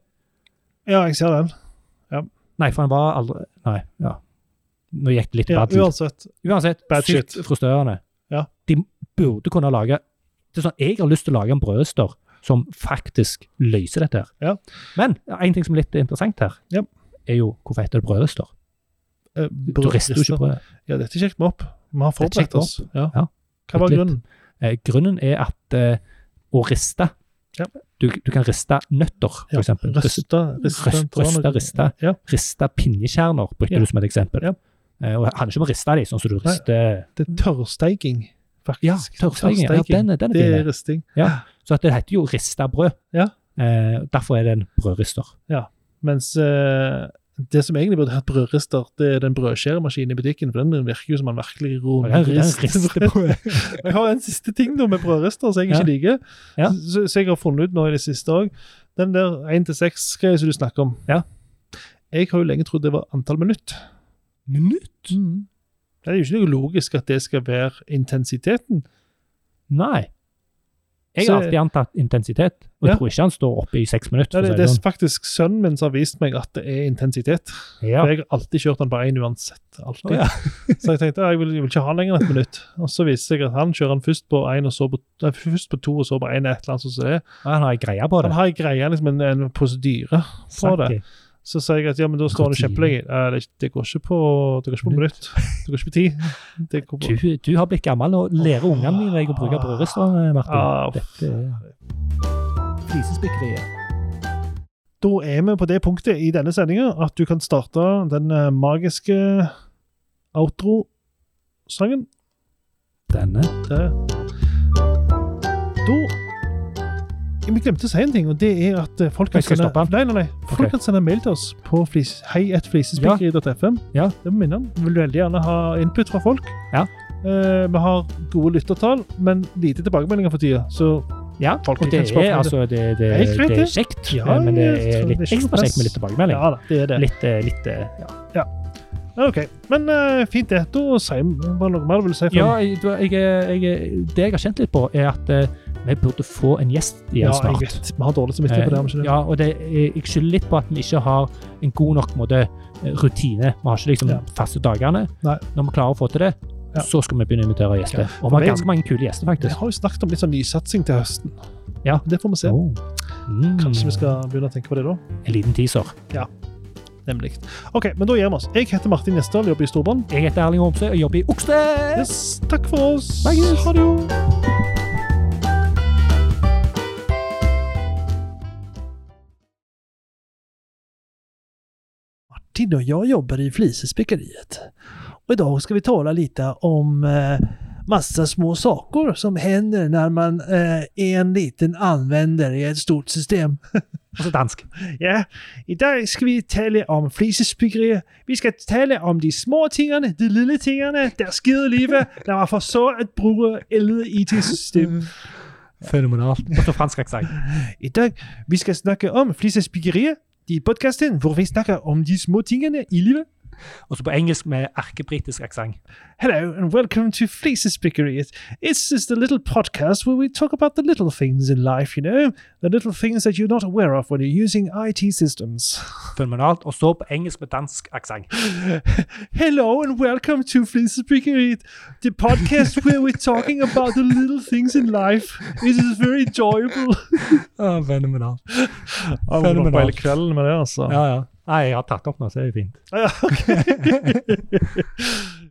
Ja, jeg ser den. Nei, for den var aldri Nei, ja. Nå gikk det litt Ja, badly. uansett. Uansett, Bad sykt shit. frustrerende. Ja. De burde kunne lage det er sånn, Jeg har lyst til å lage en brødrester som faktisk løser dette. her. Ja. Men ja, en ting som er litt interessant her, Ja. er jo hvorfor heter det brødrester? Eh, Du rister jo ikke brødet. Ja, dette sjekket vi opp. Vi har Dette sjekket forberedt oss. Ja. Ja. Hva var Litt- grunnen? Eh, grunnen er at eh, å riste Ja. du, du kan riste nøtter, Ja, f.eks. Riste, Røsta, rista, røst- røsta, rista. Ja. riste pinjekjerner brukte Ja. du som et eksempel. Ja. Eh, og det handler ikke om å riste dem, sånn som du Nei. rister Det er tørrsteiking, faktisk. Mm. Ja, tørrsteiking. Ja, den er- den er det fin, er ja. risting. Så at det heter jo rista brød. Ja. Eh, derfor er det en brødrister. Mens eh, det som egentlig burde hatt brødrister, det er den brødskjæremaskinen i butikken, for den virker jo som en virkelig Og den- den rundrist. rister brød. Jeg har en siste ting da med brødrister som jeg Ja. ikke liker, Ja. så, så jeg har funnet ut nå i det siste òg. Den der 1-6-greia som du snakker om. Ja. Jeg har jo lenge trodd det var antall minutt. Minutt? Det er jo ikke noe logisk at det skal være intensiteten. Nei. Jeg Så- har alltid antatt intensitet, og Ja. jeg tror ikke han står oppe i seks minutter. Det er, for å si det det er sånn. faktisk sønnen min som har vist meg at det er intensitet. ja. For jeg har alltid kjørt den på én uansett. Alltid. Å, ja. så jeg tenkte "Ah, jeg vil, jeg vil ikke ha lenger enn et minutt. Og så viser jeg at han kjører den først på én, og så på, nei, først på to, og så på én, et eller annet sånt som det. er. Ja, Han har ei greie på det. Han har en greie, liksom en, en prosedyre for det. Snakker. Så sa jeg at ja, men da står han Rutine. kjempelenge. Eh, Det, det går ikke på det går ikke på minutt. Det går ikke på tid. Det går på Du, du har blitt gammel og lærer ungene dine deg å bruke brødrister, eh, Martin. Ah, Dette er flisespikkeriet. Da er vi på det punktet i denne sendinga at du kan starte den eh, magiske outro-sangen. Denne. Det. Da Ja, Vi glemte å si en ting, og det er at eh, folk kan Jeg skal sende, stoppe. nei, nei, nei. Folk Ok. kan sende mail til oss på flis, heietflisespikkeri.fm. Ja. Det må vi minne om. Vi vil veldig gjerne ha input fra folk. Ja. Eh, vi har gode lyttertall, men lite tilbakemeldinger for tida. Så Ja, Folk og det kan spørre er om det. altså det, det, Helt greit, det er det. kjekt, eh, Ja, men det jeg er tror det er ikke noe litt ekstra kjekt med press. litt tilbakemelding. ja da, det er det. Litt, eh, litt eh, ja. Ok, Men eh, fint, det. Da sier vi bare noe mer du vil si. for- Ja, jeg, du- jeg, jeg, det jeg har kjent litt på, er at eh, vi burde få en gjest igjen ja, jeg snart. vet. Vi har dårlig samvittighet på det. har vi ikke Eh, det? ja, og det, jeg jeg skylder litt på at vi ikke har en god nok på en måte, eh, rutine. Vi har ikke liksom Ja. faste dagene. Nei. Når vi klarer å få til det, Ja. så skal vi begynne å invitere gjester. Og vi meg- har ganske mange kule gjester, Vi faktisk. har jo snakket om litt sånn nysatsing til høsten. Ja. Det får vi se. Oh. Mm. Kanskje vi skal begynne å tenke på det da. En liten teaser. Nemlig. Ok, men da gir vi oss. Jeg heter Martin Gjesdal, jobber i Storbrann. Jeg heter Erling Homse og jobber i Okste. Yes, takk for oss. Snakkes. Ha det jo. Martin och jag jobbar i Flisespickeriet. Och idag ska vi tala lite om, eh, massa små saker som händer när man eh, en liten användare i ett stort system. Altså dansk. Ja, i dag skal vi tale om flisespyggerier. Vi skal tale om de små tingene, de lille tingene, der skide livet, når man forsøger at bruge ældre IT-system. Fenomenalt. På fransk aksent. I dag, vi skal snakke om flisespyggerier i podcasten, er hvor vi snakker om de små tingene i livet. Og så på engelsk med erkebritisk aksent. Hello and welcome to Fleecespickeriet. It's just a little podcast where we talk about the little things in life, you know, the little things that you're not aware of when you're using IT systems. Fenomenalt. Og så på engelsk med dansk aksent. Hello and welcome to Fleecespickeriet, the podcast where we're talking about the little things in life. It is very enjoyable. Ah, fenomenalt. Ja, Følg med nå. kvelden med det, altså. Ja, ja. Nei, jeg har tatt opp nå, så det er jo fint. Ja, ok.